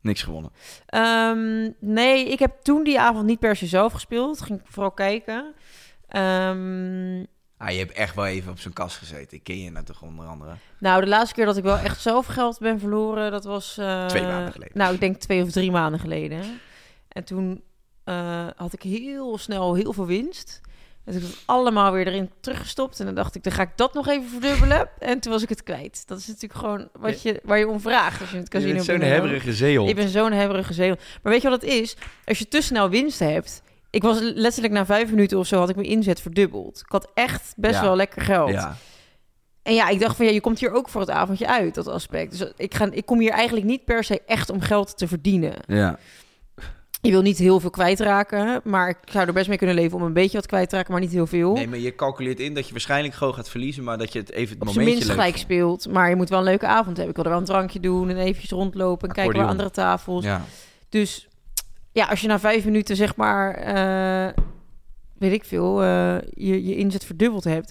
[SPEAKER 6] Niks gewonnen.
[SPEAKER 7] Ehm, nee, ik heb toen die avond niet per se zelf gespeeld. Ging ik vooral kijken. Ehm,
[SPEAKER 6] Ah, je hebt echt wel even op zijn kast gezeten. Ik ken je nou toch onder andere?
[SPEAKER 7] nou, de laatste keer dat ik wel echt zelf geld ben verloren, dat was... eh,
[SPEAKER 6] Twee maanden geleden.
[SPEAKER 7] Nou, ik denk twee of drie maanden geleden. En toen eh, had ik heel snel heel veel winst. En toen heb ik het allemaal weer erin teruggestopt. En dan dacht ik, dan ga ik dat nog even verdubbelen. En toen was ik het kwijt. Dat is natuurlijk gewoon wat je, waar je om vraagt als je in het
[SPEAKER 6] Je
[SPEAKER 7] casino
[SPEAKER 6] bent zo'n
[SPEAKER 7] binnenloopt.
[SPEAKER 6] hebberige zeehond.
[SPEAKER 7] Ik ben zo'n hebberige zeehond. Maar weet je wat het is? Als je te snel winst hebt... Ik was letterlijk na vijf minuten of zo had ik mijn inzet verdubbeld. Ik had echt best
[SPEAKER 6] Ja.
[SPEAKER 7] wel lekker geld.
[SPEAKER 6] Ja.
[SPEAKER 7] En ja, ik dacht van ja, je komt hier ook voor het avondje uit, dat aspect. Dus ik, ga, ik kom hier eigenlijk niet per se echt om geld te verdienen.
[SPEAKER 6] Ja.
[SPEAKER 7] Je wil niet heel veel kwijtraken, maar ik zou er best mee kunnen leven om een beetje wat kwijt te raken, maar niet heel veel.
[SPEAKER 6] Nee, maar je calculeert in dat je waarschijnlijk gewoon gaat verliezen, maar dat je het even het
[SPEAKER 7] Op zijn
[SPEAKER 6] momentje
[SPEAKER 7] minst
[SPEAKER 6] leuk
[SPEAKER 7] gelijk
[SPEAKER 6] vindt.
[SPEAKER 7] speelt, maar je moet wel een leuke avond hebben. Ik wil er wel een drankje doen en eventjes rondlopen en kijken waar
[SPEAKER 6] Accordeon.
[SPEAKER 7] andere tafels.
[SPEAKER 6] Ja.
[SPEAKER 7] Dus ja, als je na vijf minuten zeg maar, eh, weet ik veel, eh, je, je inzet verdubbeld hebt.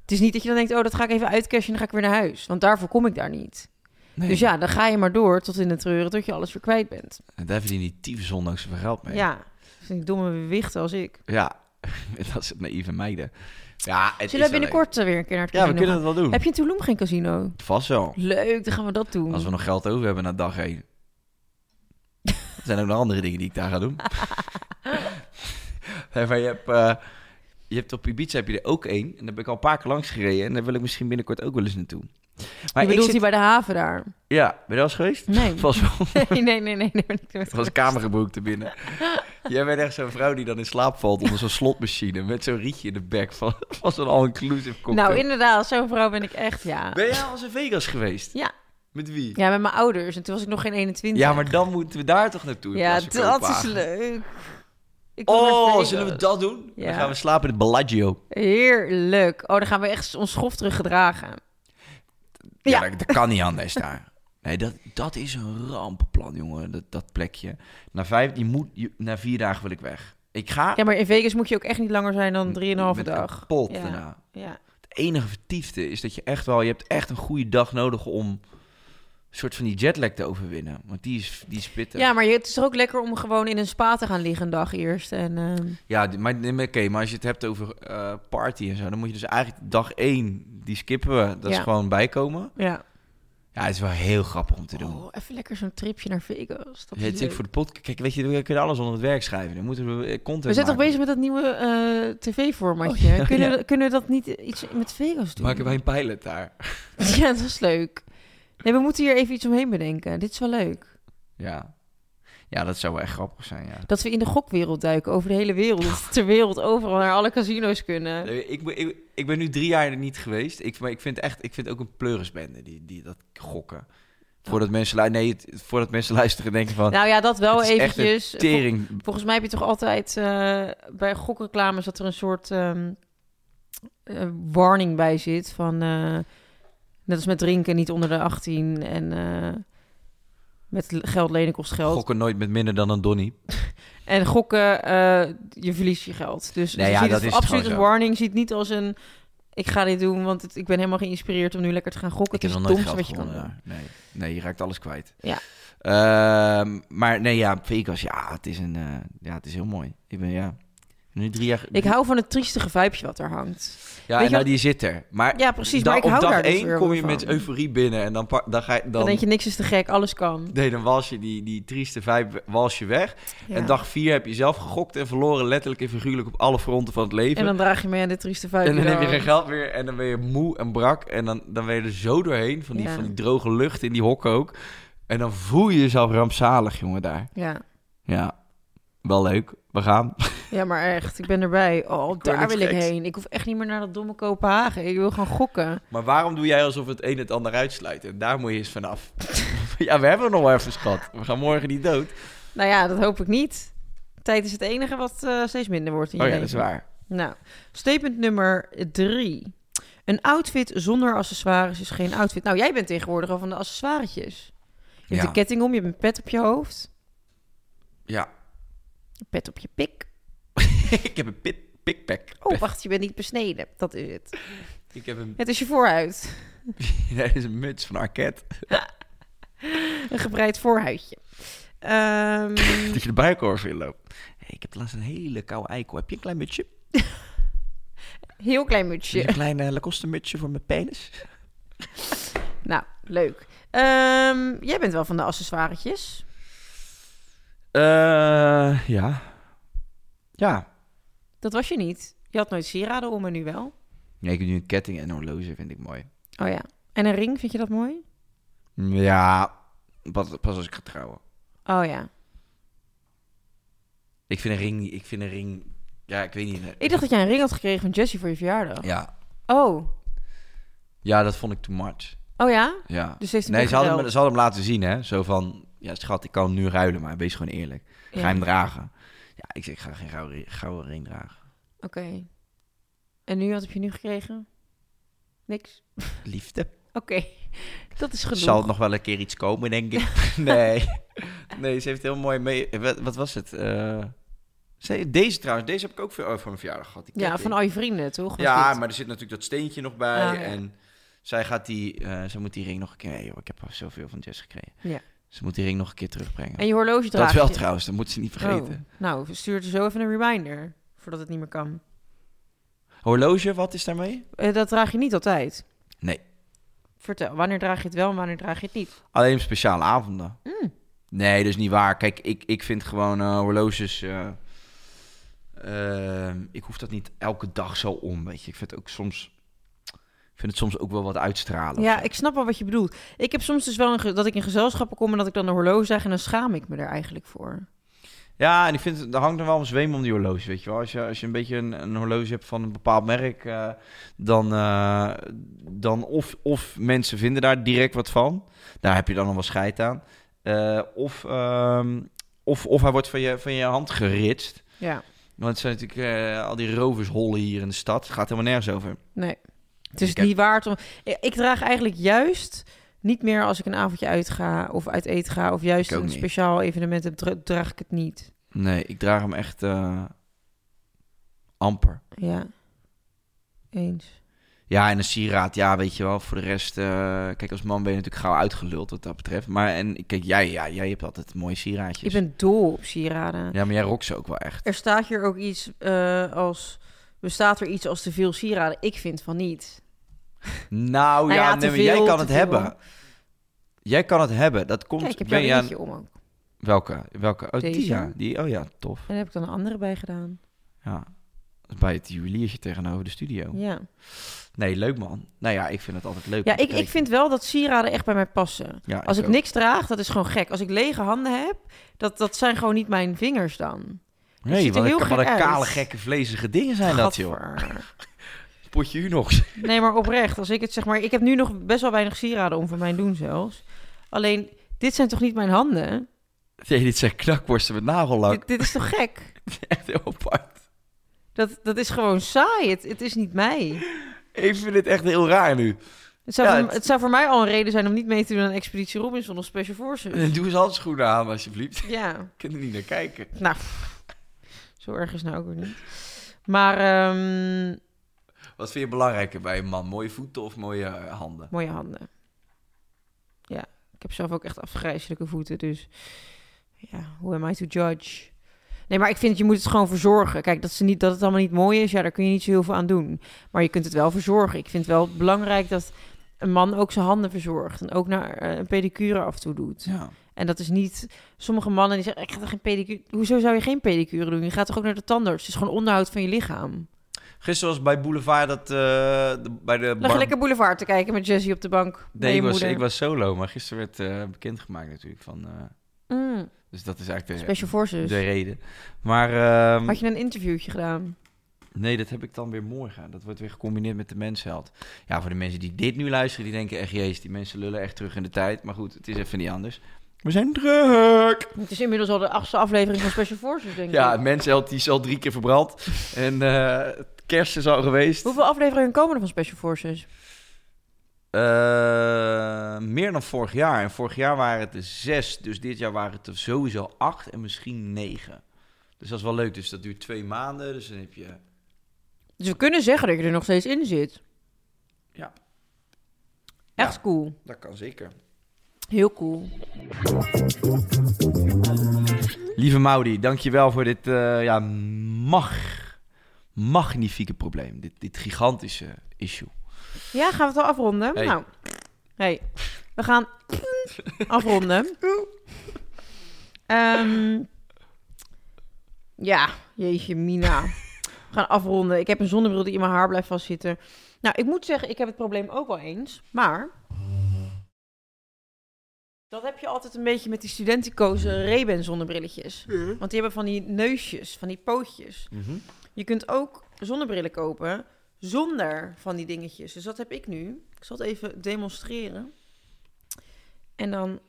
[SPEAKER 7] Het is niet dat je dan denkt, oh dat ga ik even uitcashen en dan ga ik weer naar huis. Want daarvoor kom ik daar niet.
[SPEAKER 6] Nee.
[SPEAKER 7] Dus ja, dan ga je maar door tot in de treuren, tot je alles weer kwijt bent.
[SPEAKER 6] En daar verdien die tieve zonde ook zoveel geld mee.
[SPEAKER 7] Ja, dat zijn domme wichten als ik.
[SPEAKER 6] Ja. dat is het naïeve meiden. Ja, het
[SPEAKER 7] Zullen
[SPEAKER 6] is
[SPEAKER 7] we
[SPEAKER 6] wel
[SPEAKER 7] binnenkort eh, weer een keer naar het
[SPEAKER 6] leuk. Ja,
[SPEAKER 7] casino
[SPEAKER 6] we kunnen
[SPEAKER 7] gaan?
[SPEAKER 6] het wel doen.
[SPEAKER 7] Heb je in Tulum geen casino?
[SPEAKER 6] Vast wel.
[SPEAKER 7] Leuk, dan gaan we dat doen.
[SPEAKER 6] Als we nog geld over hebben na dag één. Er zijn ook nog andere dingen die ik daar ga doen. nee, maar je hebt, eh, je hebt op Ibiza heb je er ook één. En daar ben ik al een paar keer langs gereden. En daar wil ik misschien binnenkort ook wel eens naartoe. Maar
[SPEAKER 7] je bedoelt
[SPEAKER 6] ik zit...
[SPEAKER 7] die bij de haven daar?
[SPEAKER 6] Ja, ben je wel eens geweest?
[SPEAKER 7] Nee.
[SPEAKER 6] Vast wel.
[SPEAKER 7] nee, nee, nee, nee. nee, ben ik nooit
[SPEAKER 6] Er was een kamergebroek te binnen. Jij bent echt zo'n vrouw die dan in slaap valt onder zo'n slotmachine. Met zo'n rietje in de bek van, van zo'n all-inclusive
[SPEAKER 7] geweest.
[SPEAKER 6] cocktail.
[SPEAKER 7] Nou, inderdaad, zo'n vrouw ben ik echt, ja.
[SPEAKER 6] Ben jij al eens in Vegas geweest?
[SPEAKER 7] Ja.
[SPEAKER 6] Met wie?
[SPEAKER 7] Ja, met mijn ouders. En toen was ik nog geen 21.
[SPEAKER 6] Ja, maar dan moeten we daar toch naartoe. in
[SPEAKER 7] Ja,
[SPEAKER 6] plaats van
[SPEAKER 7] dat is
[SPEAKER 6] Kopenhagen.
[SPEAKER 7] leuk. Ik wil naar
[SPEAKER 6] Oh,
[SPEAKER 7] Vegas.
[SPEAKER 6] zullen we dat doen?
[SPEAKER 7] Ja.
[SPEAKER 6] Dan gaan we slapen in het Bellagio.
[SPEAKER 7] Heerlijk. Oh, dan gaan we echt ons schof teruggedragen.
[SPEAKER 6] Ja, Dat, dat kan niet anders daar. Nee, dat, dat is een rampenplan, jongen, dat, dat plekje. Na, vijf, die moet, je- na vier dagen wil ik weg. Ik ga
[SPEAKER 7] Ja, maar in Vegas moet je ook echt niet langer zijn dan 3,5
[SPEAKER 6] met
[SPEAKER 7] dag.
[SPEAKER 6] kapot
[SPEAKER 7] Ja.
[SPEAKER 6] daarna.
[SPEAKER 7] Ja.
[SPEAKER 6] Het enige vertiefde is dat je echt wel... Je hebt echt een goede dag nodig om een soort van die jetlag te overwinnen. Want die is, die is pittig.
[SPEAKER 7] ja, maar je- het is toch ook lekker om gewoon in een spa te gaan liggen een dag eerst. En, ehm,
[SPEAKER 6] Ja, die- maar, nee, maar oké, maar als je het hebt over eh, party en zo... dan moet je dus eigenlijk dag één, die skippen we. Dat
[SPEAKER 7] Ja.
[SPEAKER 6] is gewoon bijkomen.
[SPEAKER 7] ja.
[SPEAKER 6] Ja, het is wel heel grappig om te doen.
[SPEAKER 7] Oh, even lekker zo'n tripje naar Vegas. Dat
[SPEAKER 6] Ja,
[SPEAKER 7] is
[SPEAKER 6] het is ook
[SPEAKER 7] leuk.
[SPEAKER 6] voor de podcast. Kijk, weet je, we kunnen alles onder het werk schrijven. Dan moeten we eh, content
[SPEAKER 7] We zijn toch
[SPEAKER 6] maken.
[SPEAKER 7] bezig met dat nieuwe eh, tv-formatje?
[SPEAKER 6] Oh, ja,
[SPEAKER 7] kunnen,
[SPEAKER 6] ja.
[SPEAKER 7] we- kunnen we dat niet iets met Vegas doen?
[SPEAKER 6] Maken wij een pilot daar?
[SPEAKER 7] Ja, dat is leuk. Nee, we moeten hier even iets omheen bedenken. Dit is wel leuk.
[SPEAKER 6] Ja. Ja, dat zou wel echt grappig zijn, ja.
[SPEAKER 7] Dat we in de gokwereld duiken, over de hele wereld. Dat we ter wereld overal naar alle casino's kunnen.
[SPEAKER 6] Nee, Ik, ben- ik, ik ben nu drie jaar er niet geweest. Ik, maar ik vind echt, ik vind ook een pleurisbende die, die dat gokken. Voordat mensen, lu- nee, het- voordat mensen luisteren en denken van...
[SPEAKER 7] Nou ja, dus, eh, dat wel
[SPEAKER 6] het is echt een
[SPEAKER 7] eventjes. Vol-
[SPEAKER 6] tering.
[SPEAKER 7] volgens mij heb je toch altijd eh, bij gokreclames dat er een soort ehm, eh, warning bij zit van eh, net als met drinken niet onder de 18 en eh, met l- geld lenen kost geld.
[SPEAKER 6] Gokken nooit met minder dan een donnie.
[SPEAKER 7] En gokken, eh, je verliest je geld. Dus
[SPEAKER 6] Nee,
[SPEAKER 7] je
[SPEAKER 6] ja,
[SPEAKER 7] ziet
[SPEAKER 6] dat
[SPEAKER 7] het
[SPEAKER 6] is
[SPEAKER 7] absoluut
[SPEAKER 6] gewoon
[SPEAKER 7] als
[SPEAKER 6] zo.
[SPEAKER 7] warning. Ziet niet als een, ik ga dit doen, want het- ik ben helemaal geïnspireerd om nu lekker te gaan gokken.
[SPEAKER 6] Ik
[SPEAKER 7] het
[SPEAKER 6] heb
[SPEAKER 7] is
[SPEAKER 6] nog
[SPEAKER 7] het
[SPEAKER 6] nooit
[SPEAKER 7] domste
[SPEAKER 6] geld
[SPEAKER 7] wat je kan
[SPEAKER 6] gewonnen.
[SPEAKER 7] doen.
[SPEAKER 6] daar. Nee, nee, je raakt alles kwijt.
[SPEAKER 7] Ja.
[SPEAKER 6] Ehm, maar nee, ja, Vegas, ja, het is, een, eh, ja, het is heel mooi. Ik ben, ja, nu drie jaar...
[SPEAKER 7] Ik hou van het triestige vibeje wat daar hangt.
[SPEAKER 6] Ja,
[SPEAKER 7] Weet
[SPEAKER 6] en
[SPEAKER 7] je
[SPEAKER 6] nou,
[SPEAKER 7] wat-
[SPEAKER 6] die zit er. Maar
[SPEAKER 7] Ja, precies,
[SPEAKER 6] dan-
[SPEAKER 7] maar ik
[SPEAKER 6] op
[SPEAKER 7] hou
[SPEAKER 6] dag
[SPEAKER 7] daar dus
[SPEAKER 6] één
[SPEAKER 7] weer
[SPEAKER 6] kom
[SPEAKER 7] wel
[SPEAKER 6] je
[SPEAKER 7] van.
[SPEAKER 6] met euforie binnen en dan, pak- dan ga je... Dan,
[SPEAKER 7] Dan denk je, niks is te gek, alles kan.
[SPEAKER 6] Nee, dan wals je die, die trieste vibe wals je weg.
[SPEAKER 7] Ja.
[SPEAKER 6] En dag vier heb je zelf gegokt en verloren letterlijk en figuurlijk op alle fronten van het leven.
[SPEAKER 7] En dan draag je mee aan dit trieste vibe.
[SPEAKER 6] En dan heb je
[SPEAKER 7] door.
[SPEAKER 6] geen geld meer en dan ben je moe en brak. En dan, dan ben je er zo doorheen van die,
[SPEAKER 7] Ja.
[SPEAKER 6] van die droge lucht in die hokken ook. En dan voel je jezelf rampzalig, jongen, daar.
[SPEAKER 7] Ja.
[SPEAKER 6] Ja, wel leuk. We gaan.
[SPEAKER 7] ja, maar echt, ik ben erbij. Oh, daar
[SPEAKER 6] niks
[SPEAKER 7] wil ik
[SPEAKER 6] geks.
[SPEAKER 7] heen. Ik hoef echt niet meer naar dat domme Kopenhagen. Ik wil gewoon gokken.
[SPEAKER 6] Maar waarom doe jij alsof het een het ander uitsluit? En daar moet je eens vanaf. ja, we hebben nog wel even schat. We gaan morgen niet dood.
[SPEAKER 7] Nou ja, dat hoop ik niet. Tijd is het enige wat eh, steeds minder wordt in je
[SPEAKER 6] Oh ja, dat is
[SPEAKER 7] leven.
[SPEAKER 6] waar.
[SPEAKER 7] Nou, statement nummer drie. Een outfit zonder accessoires is geen outfit. Nou, jij bent tegenwoordig al van de accessoiretjes. Je hebt
[SPEAKER 6] Ja.
[SPEAKER 7] een ketting om, je hebt een pet op je hoofd,
[SPEAKER 6] Ja,
[SPEAKER 7] een pet op je pik.
[SPEAKER 6] ik heb een pit, pikpack.
[SPEAKER 7] Oh, wacht, je bent niet besneden. Dat is het.
[SPEAKER 6] Ik heb een,
[SPEAKER 7] Het is je voorhuid.
[SPEAKER 6] dat is een muts van Arket.
[SPEAKER 7] Een gebreid voorhuidje. Ehm,
[SPEAKER 6] Dat je de buikorf in loopt. Hey, ik heb laatst een hele koude eikel. Heb je een klein mutsje?
[SPEAKER 7] heel klein
[SPEAKER 6] Heb je
[SPEAKER 7] mutsje.
[SPEAKER 6] Een klein eh, Lacoste mutsje voor mijn penis?
[SPEAKER 7] Nou, leuk. Ehm, jij bent wel van de accessoiretjes.
[SPEAKER 6] Eh, ja. Ja.
[SPEAKER 7] Dat was je niet. Je had nooit sieraden om, maar nu wel.
[SPEAKER 6] Nee, ik heb nu een ketting en een horloge, vind ik mooi.
[SPEAKER 7] Oh ja. En een ring, vind je dat mooi?
[SPEAKER 6] Ja, pas, pas als ik ga trouwen.
[SPEAKER 7] Oh ja.
[SPEAKER 6] Ik vind een ring niet... Ik vind een ring... Ja, ik weet niet. een-
[SPEAKER 7] Ik dacht dat jij een ring had gekregen van Jessie voor je verjaardag.
[SPEAKER 6] Ja.
[SPEAKER 7] Oh.
[SPEAKER 6] ja, dat vond ik too much.
[SPEAKER 7] Oh ja?
[SPEAKER 6] Ja.
[SPEAKER 7] Dus ze heeft hem
[SPEAKER 6] nee, ze hadden, hem,
[SPEAKER 7] weggeruild.
[SPEAKER 6] ze hadden hem laten zien, hè. Zo van... Ja, schat, ik kan hem nu ruilen, maar wees gewoon eerlijk. Ga je
[SPEAKER 7] Ja.
[SPEAKER 6] hem dragen? Ja, ik zeg, ik ga geen gouden, ri- gouden ring dragen.
[SPEAKER 7] Oké. En nu, wat heb je nu gekregen? Niks?
[SPEAKER 6] Liefde.
[SPEAKER 7] Oké. Dat is genoeg.
[SPEAKER 6] Zal nog wel een keer iets komen, denk ik. nee. Nee, ze heeft heel mooi mee... Wat, wat was het? Eh, ze- deze trouwens, deze heb ik ook veel voor mijn verjaardag gehad. Die
[SPEAKER 7] Ja,
[SPEAKER 6] ketting.
[SPEAKER 7] van al je vrienden, toch? Was
[SPEAKER 6] Ja,
[SPEAKER 7] dit?
[SPEAKER 6] maar er zit natuurlijk dat steentje nog bij.
[SPEAKER 7] Ah, ja.
[SPEAKER 6] En zij gaat die... eh, ze moet die ring nog een keer... Nee, joh, ik heb al zoveel van Jess gekregen.
[SPEAKER 7] Ja.
[SPEAKER 6] Ze moet die ring nog een keer terugbrengen.
[SPEAKER 7] En je horloge
[SPEAKER 6] dat
[SPEAKER 7] draagt
[SPEAKER 6] wel
[SPEAKER 7] je.
[SPEAKER 6] trouwens, dat moet ze niet vergeten.
[SPEAKER 7] Oh. Nou, stuur er zo even een reminder. Voordat het niet meer kan.
[SPEAKER 6] Horloge, wat is daarmee?
[SPEAKER 7] Eh, dat draag je niet altijd.
[SPEAKER 6] Nee.
[SPEAKER 7] Vertel, wanneer draag je het wel en wanneer draag je het niet?
[SPEAKER 6] Alleen op speciale avonden. Nee, dat is niet waar. Kijk, ik, ik vind gewoon eh, horloges... eh, ehm, ik hoef dat niet elke dag zo om, weet je. Ik vind het ook soms... Ik vind het soms ook wel wat uitstralen.
[SPEAKER 7] Ja, ik snap wel wat je bedoelt. Ik heb soms dus wel een ge- dat ik in gezelschappen kom en dat ik dan een horloge zeg en dan schaam ik me er eigenlijk voor.
[SPEAKER 6] Ja, en ik vind, het- er hangt er wel een zweem om die horloge, weet je wel. Als je, als je een beetje een, een horloge hebt van een bepaald merk, eh, dan, eh, dan of, of mensen vinden daar direct wat van. Daar heb je dan nog wel scheid aan. Eh, of, ehm, of, of hij wordt van je, van je hand geritst.
[SPEAKER 7] Ja,
[SPEAKER 6] Want het zijn natuurlijk eh, al die rovershollen hier in de stad. Het gaat helemaal nergens over.
[SPEAKER 7] nee. Het is
[SPEAKER 6] Ik heb-
[SPEAKER 7] niet waard om... Ik ik draag eigenlijk juist niet meer als ik een avondje uitga of uit eten ga... of juist
[SPEAKER 6] Ik ook
[SPEAKER 7] een
[SPEAKER 6] niet.
[SPEAKER 7] speciaal evenement heb, dra- draag ik het niet.
[SPEAKER 6] Nee, ik draag hem echt eh, amper.
[SPEAKER 7] Ja, eens.
[SPEAKER 6] Ja, en een sieraad, ja, weet je wel. Voor de rest, eh, kijk, als man ben je natuurlijk gauw uitgeluld wat dat betreft. Maar en kijk, jij, ja, jij hebt altijd mooie
[SPEAKER 7] Ik
[SPEAKER 6] sieraadjes.
[SPEAKER 7] ben dol op sieraden.
[SPEAKER 6] Ja, maar jij rokt ze ook wel echt.
[SPEAKER 7] Er staat hier ook iets eh, als... Bestaat er iets als te veel sieraden? Ik vind van niet.
[SPEAKER 6] Nou ja,
[SPEAKER 7] ja,
[SPEAKER 6] nee,
[SPEAKER 7] te
[SPEAKER 6] maar jij
[SPEAKER 7] veel,
[SPEAKER 6] kan
[SPEAKER 7] te
[SPEAKER 6] het
[SPEAKER 7] veel.
[SPEAKER 6] hebben. Jij kan het hebben. Dat komt.
[SPEAKER 7] Kijk, ik heb
[SPEAKER 6] ben
[SPEAKER 7] jouw
[SPEAKER 6] je aan-
[SPEAKER 7] ringetje om ook.
[SPEAKER 6] Welke? Welke? Oh, die
[SPEAKER 7] Deze.
[SPEAKER 6] ja. Die, oh ja, tof.
[SPEAKER 7] En daar heb ik dan een andere bij gedaan.
[SPEAKER 6] Oh. Ja. Dat is Bij het juweliertje tegenover de studio.
[SPEAKER 7] Ja.
[SPEAKER 6] Nee, leuk man. Nou ja, ik vind het altijd leuk.
[SPEAKER 7] Ja,
[SPEAKER 6] om te
[SPEAKER 7] ik, ik
[SPEAKER 6] kijken.
[SPEAKER 7] vind wel dat sieraden echt bij mij passen.
[SPEAKER 6] Ja,
[SPEAKER 7] Als
[SPEAKER 6] ik
[SPEAKER 7] ik
[SPEAKER 6] ook.
[SPEAKER 7] niks draag, dat is gewoon gek. Als ik lege handen heb, dat, dat zijn gewoon niet mijn vingers dan. Dat
[SPEAKER 6] Nee,
[SPEAKER 7] ziet er
[SPEAKER 6] wat
[SPEAKER 7] heel
[SPEAKER 6] een, wat
[SPEAKER 7] gek
[SPEAKER 6] een
[SPEAKER 7] uit.
[SPEAKER 6] kale, gekke, vlezige dingen zijn dat, joh. Potje Unox.
[SPEAKER 7] Nee, maar oprecht. Als ik het zeg maar, ik heb nu nog best wel weinig sieraden om voor mijn doen zelfs. Alleen, dit zijn toch niet mijn handen?
[SPEAKER 6] Nee, dit zijn knakworsten met nagellak.
[SPEAKER 7] Dit, dit is toch gek?
[SPEAKER 6] Echt heel apart.
[SPEAKER 7] Dat, dat is gewoon saai. Het, het is niet mij.
[SPEAKER 6] Ik vind dit echt heel raar nu.
[SPEAKER 7] Het zou,
[SPEAKER 6] Ja,
[SPEAKER 7] voor,
[SPEAKER 6] het-
[SPEAKER 7] het zou voor mij al een reden zijn om niet mee te doen aan Expeditie Robinson of Special Forces.
[SPEAKER 6] Doe eens handschoenen aan, alsjeblieft. Ik
[SPEAKER 7] Ja,
[SPEAKER 6] kan er niet naar kijken.
[SPEAKER 7] nou, pff, zo erg is het nou ook weer niet. Maar ehm,
[SPEAKER 6] Wat vind je belangrijker bij een man? Mooie voeten of mooie eh, handen?
[SPEAKER 7] mooie handen. Ja, ik heb zelf ook echt afgrijzelijke voeten, dus ja, who am I to judge? Nee, maar ik vind, je moet het gewoon verzorgen. Kijk, dat, ze niet, dat het allemaal niet mooi is, ja, daar kun je niet zo heel veel aan doen. Maar je kunt het wel verzorgen. Ik vind het wel belangrijk dat een man ook zijn handen verzorgt. En ook naar eh, een pedicure af en toe doet.
[SPEAKER 6] Ja.
[SPEAKER 7] En dat is niet... Sommige mannen die zeggen, ik ga toch geen pedicure... Hoezo zou je geen pedicure doen? Je gaat toch ook naar de tandarts? Het is gewoon onderhoud van je lichaam.
[SPEAKER 6] Gisteren was bij Boulevard dat... eh, de- bij de
[SPEAKER 7] Lag je
[SPEAKER 6] bar-
[SPEAKER 7] lekker boulevard te kijken met Jessie op de bank. bij
[SPEAKER 6] Nee,
[SPEAKER 7] je
[SPEAKER 6] ik was,
[SPEAKER 7] moeder.
[SPEAKER 6] ik was solo, maar gisteren werd eh, bekendgemaakt natuurlijk van... eh,
[SPEAKER 7] Mm,
[SPEAKER 6] dus dat is eigenlijk de,
[SPEAKER 7] Special Forces.
[SPEAKER 6] de reden. Maar ehm,
[SPEAKER 7] Had je een interviewtje gedaan?
[SPEAKER 6] nee, dat heb ik dan weer morgen. Dat wordt weer gecombineerd met de mensheld. Ja, voor de mensen die dit nu luisteren, die denken echt... Jezus, die mensen lullen echt terug in de tijd. Maar goed, het is even niet anders. We zijn druk!
[SPEAKER 7] Het is inmiddels al de achtste aflevering van Special Forces, denk
[SPEAKER 6] Ja,
[SPEAKER 7] ik.
[SPEAKER 6] het mensheld die is al drie keer verbrand. En eh, het kerst is al geweest.
[SPEAKER 7] Hoeveel afleveringen komen er van Special Forces?
[SPEAKER 6] Eh, meer dan vorig jaar. En vorig jaar waren het er zes. Dus dit jaar waren het er sowieso acht en misschien negen. Dus dat is wel leuk. Dus dat duurt twee maanden. Dus dan heb je...
[SPEAKER 7] Dus we kunnen zeggen dat je er nog steeds in zit.
[SPEAKER 6] Ja.
[SPEAKER 7] Echt
[SPEAKER 6] Ja.
[SPEAKER 7] cool.
[SPEAKER 6] Dat kan zeker.
[SPEAKER 7] Heel cool.
[SPEAKER 6] Lieve Maudi, dankjewel voor dit eh, ja, mag, magnifieke probleem. Dit, dit gigantische issue.
[SPEAKER 7] Ja, gaan we het al afronden?
[SPEAKER 6] Hey.
[SPEAKER 7] Nou, hey, we gaan afronden. Ehm, ja, jeetje mina. We gaan afronden. Ik heb een zonnebril die in mijn haar blijft vastzitten. Nou, ik moet zeggen, ik heb het probleem ook wel eens, maar... Dat heb je altijd een beetje met die studenticozen Ray-Ban zonnebrilletjes. Want die hebben van die neusjes, van die pootjes. Je kunt ook zonnebrillen kopen zonder van die dingetjes. Dus dat heb ik nu. Ik zal het even demonstreren. En dan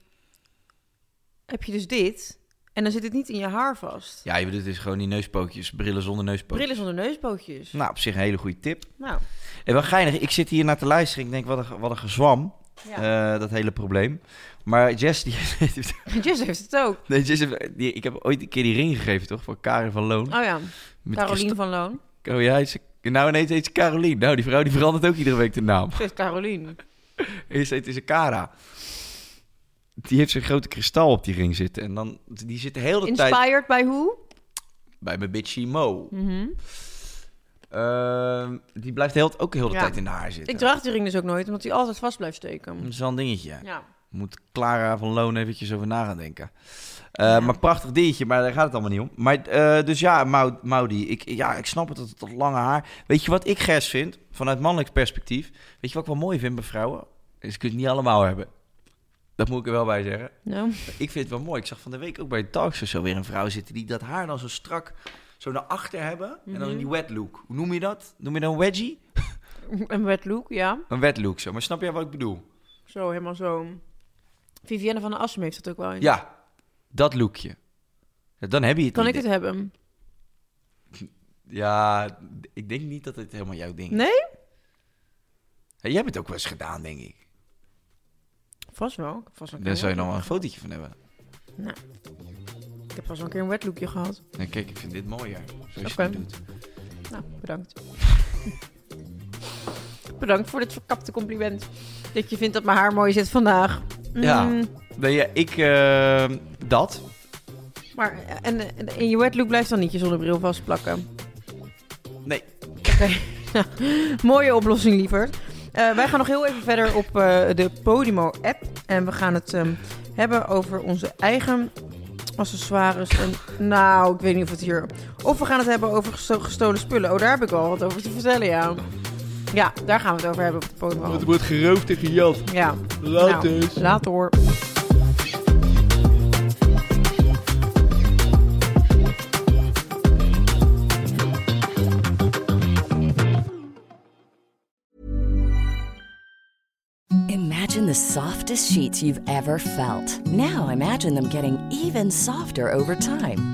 [SPEAKER 7] heb je dus dit. En dan zit het niet in je haar vast.
[SPEAKER 6] Ja, je bedoelt dus gewoon die neuspootjes. Brillen zonder neuspootjes.
[SPEAKER 7] Brillen zonder neusbootjes.
[SPEAKER 6] Nou, op zich een hele goede tip.
[SPEAKER 7] Nou,
[SPEAKER 6] En Eh, wel geinig, ik zit hier naar te luisteren. Ik denk, wat een, wat een gezwam,
[SPEAKER 7] ja.
[SPEAKER 6] eh, dat hele probleem. Maar Jess, die heeft
[SPEAKER 7] Jess heeft het ook.
[SPEAKER 6] Nee, Jess heeft- die, ik heb ooit een keer die ring gegeven, toch? Voor Karin van Loon.
[SPEAKER 7] Oh ja,
[SPEAKER 6] Met
[SPEAKER 7] Caroline van Loon.
[SPEAKER 6] Christo- Oh ja, hij is- nou ineens heet ze Caroline. Nou, die vrouw die verandert ook iedere week de naam.
[SPEAKER 7] Ze is Caroline.
[SPEAKER 6] Eerst heet ze Cara. Die heeft zijn grote kristal op die ring zitten. En dan, die zit de hele tijd
[SPEAKER 7] Inspired by who?
[SPEAKER 6] bij mijn bitchy Mo.
[SPEAKER 7] Mhm.
[SPEAKER 6] Ehm, die blijft de hele, ook de hele
[SPEAKER 7] Ja.
[SPEAKER 6] tijd in haar zitten.
[SPEAKER 7] Ik draag die ring dus ook nooit, omdat die altijd vast blijft steken.
[SPEAKER 6] Dat is wel een dingetje.
[SPEAKER 7] Ja.
[SPEAKER 6] Moet Clara van Loon eventjes over na gaan denken. Eh, Maar prachtig dingetje, maar daar gaat het allemaal niet om. Maar, eh, dus ja, Mau- Maudi, ik, ja, ik snap het, dat, dat lange haar. Weet je wat ik gers vind, vanuit mannelijk perspectief? Weet je wat ik wel mooi vind bij vrouwen? Is ik het niet allemaal hebben. Dat moet ik er wel bij zeggen.
[SPEAKER 7] Nou,
[SPEAKER 6] Ik vind het wel mooi. Ik zag van de week ook bij de talkshow zo weer een vrouw zitten... die dat haar dan zo strak zo naar achter hebben. En dan die wet look. Hoe noem je dat? Noem je dat een wedgie?
[SPEAKER 7] een wet look, ja.
[SPEAKER 6] Een wet look zo. Maar snap jij wat ik bedoel?
[SPEAKER 7] Zo, helemaal zo. Vivienne van der Assem heeft dat ook wel. eens.
[SPEAKER 6] Ja, dat lookje. Ja, Dan heb je het
[SPEAKER 7] Kan
[SPEAKER 6] niet,
[SPEAKER 7] ik het
[SPEAKER 6] hè?
[SPEAKER 7] hebben?
[SPEAKER 6] Ja, ik denk niet dat het helemaal jouw ding is.
[SPEAKER 7] Nee?
[SPEAKER 6] Hey, Jij hebt het ook wel eens gedaan, denk ik.
[SPEAKER 7] Vast wel. Ik heb vast wel een
[SPEAKER 6] Daar
[SPEAKER 7] keer-
[SPEAKER 6] zou je nog wel een fotootje van hebben.
[SPEAKER 7] Ik heb vast wel een keer een wetlookje gehad.
[SPEAKER 6] Nee, kijk, ik vind dit mooier. Zoals
[SPEAKER 7] Oké.
[SPEAKER 6] je het nu doet.
[SPEAKER 7] Nou, bedankt. bedankt voor dit verkapte compliment. Dat je vindt dat mijn haar mooi zit vandaag. Mm,
[SPEAKER 6] Ja. Nee, ja, ik... eh, dat.
[SPEAKER 7] Maar eh, en, en, en je wetlook blijft dan niet je zonnebril vastplakken.
[SPEAKER 6] Nee.
[SPEAKER 7] Mooie oplossing, lieverd. Eh, wij gaan nog heel even verder op eh, de Podimo-app. En we gaan het ehm, hebben over onze eigen accessoires. En, nou, ik weet niet of het hier... Of we gaan het hebben over gesto- gestolen spullen. Oh, daar heb ik al wat over te vertellen, ja. Ja, daar gaan we het over hebben op de podium.
[SPEAKER 6] wordt gerookt en gejat.
[SPEAKER 7] Ja.
[SPEAKER 6] Later.
[SPEAKER 7] Nou, later hoor.
[SPEAKER 9] Imagine the softest sheets you've ever felt. Now imagine them getting even softer over time.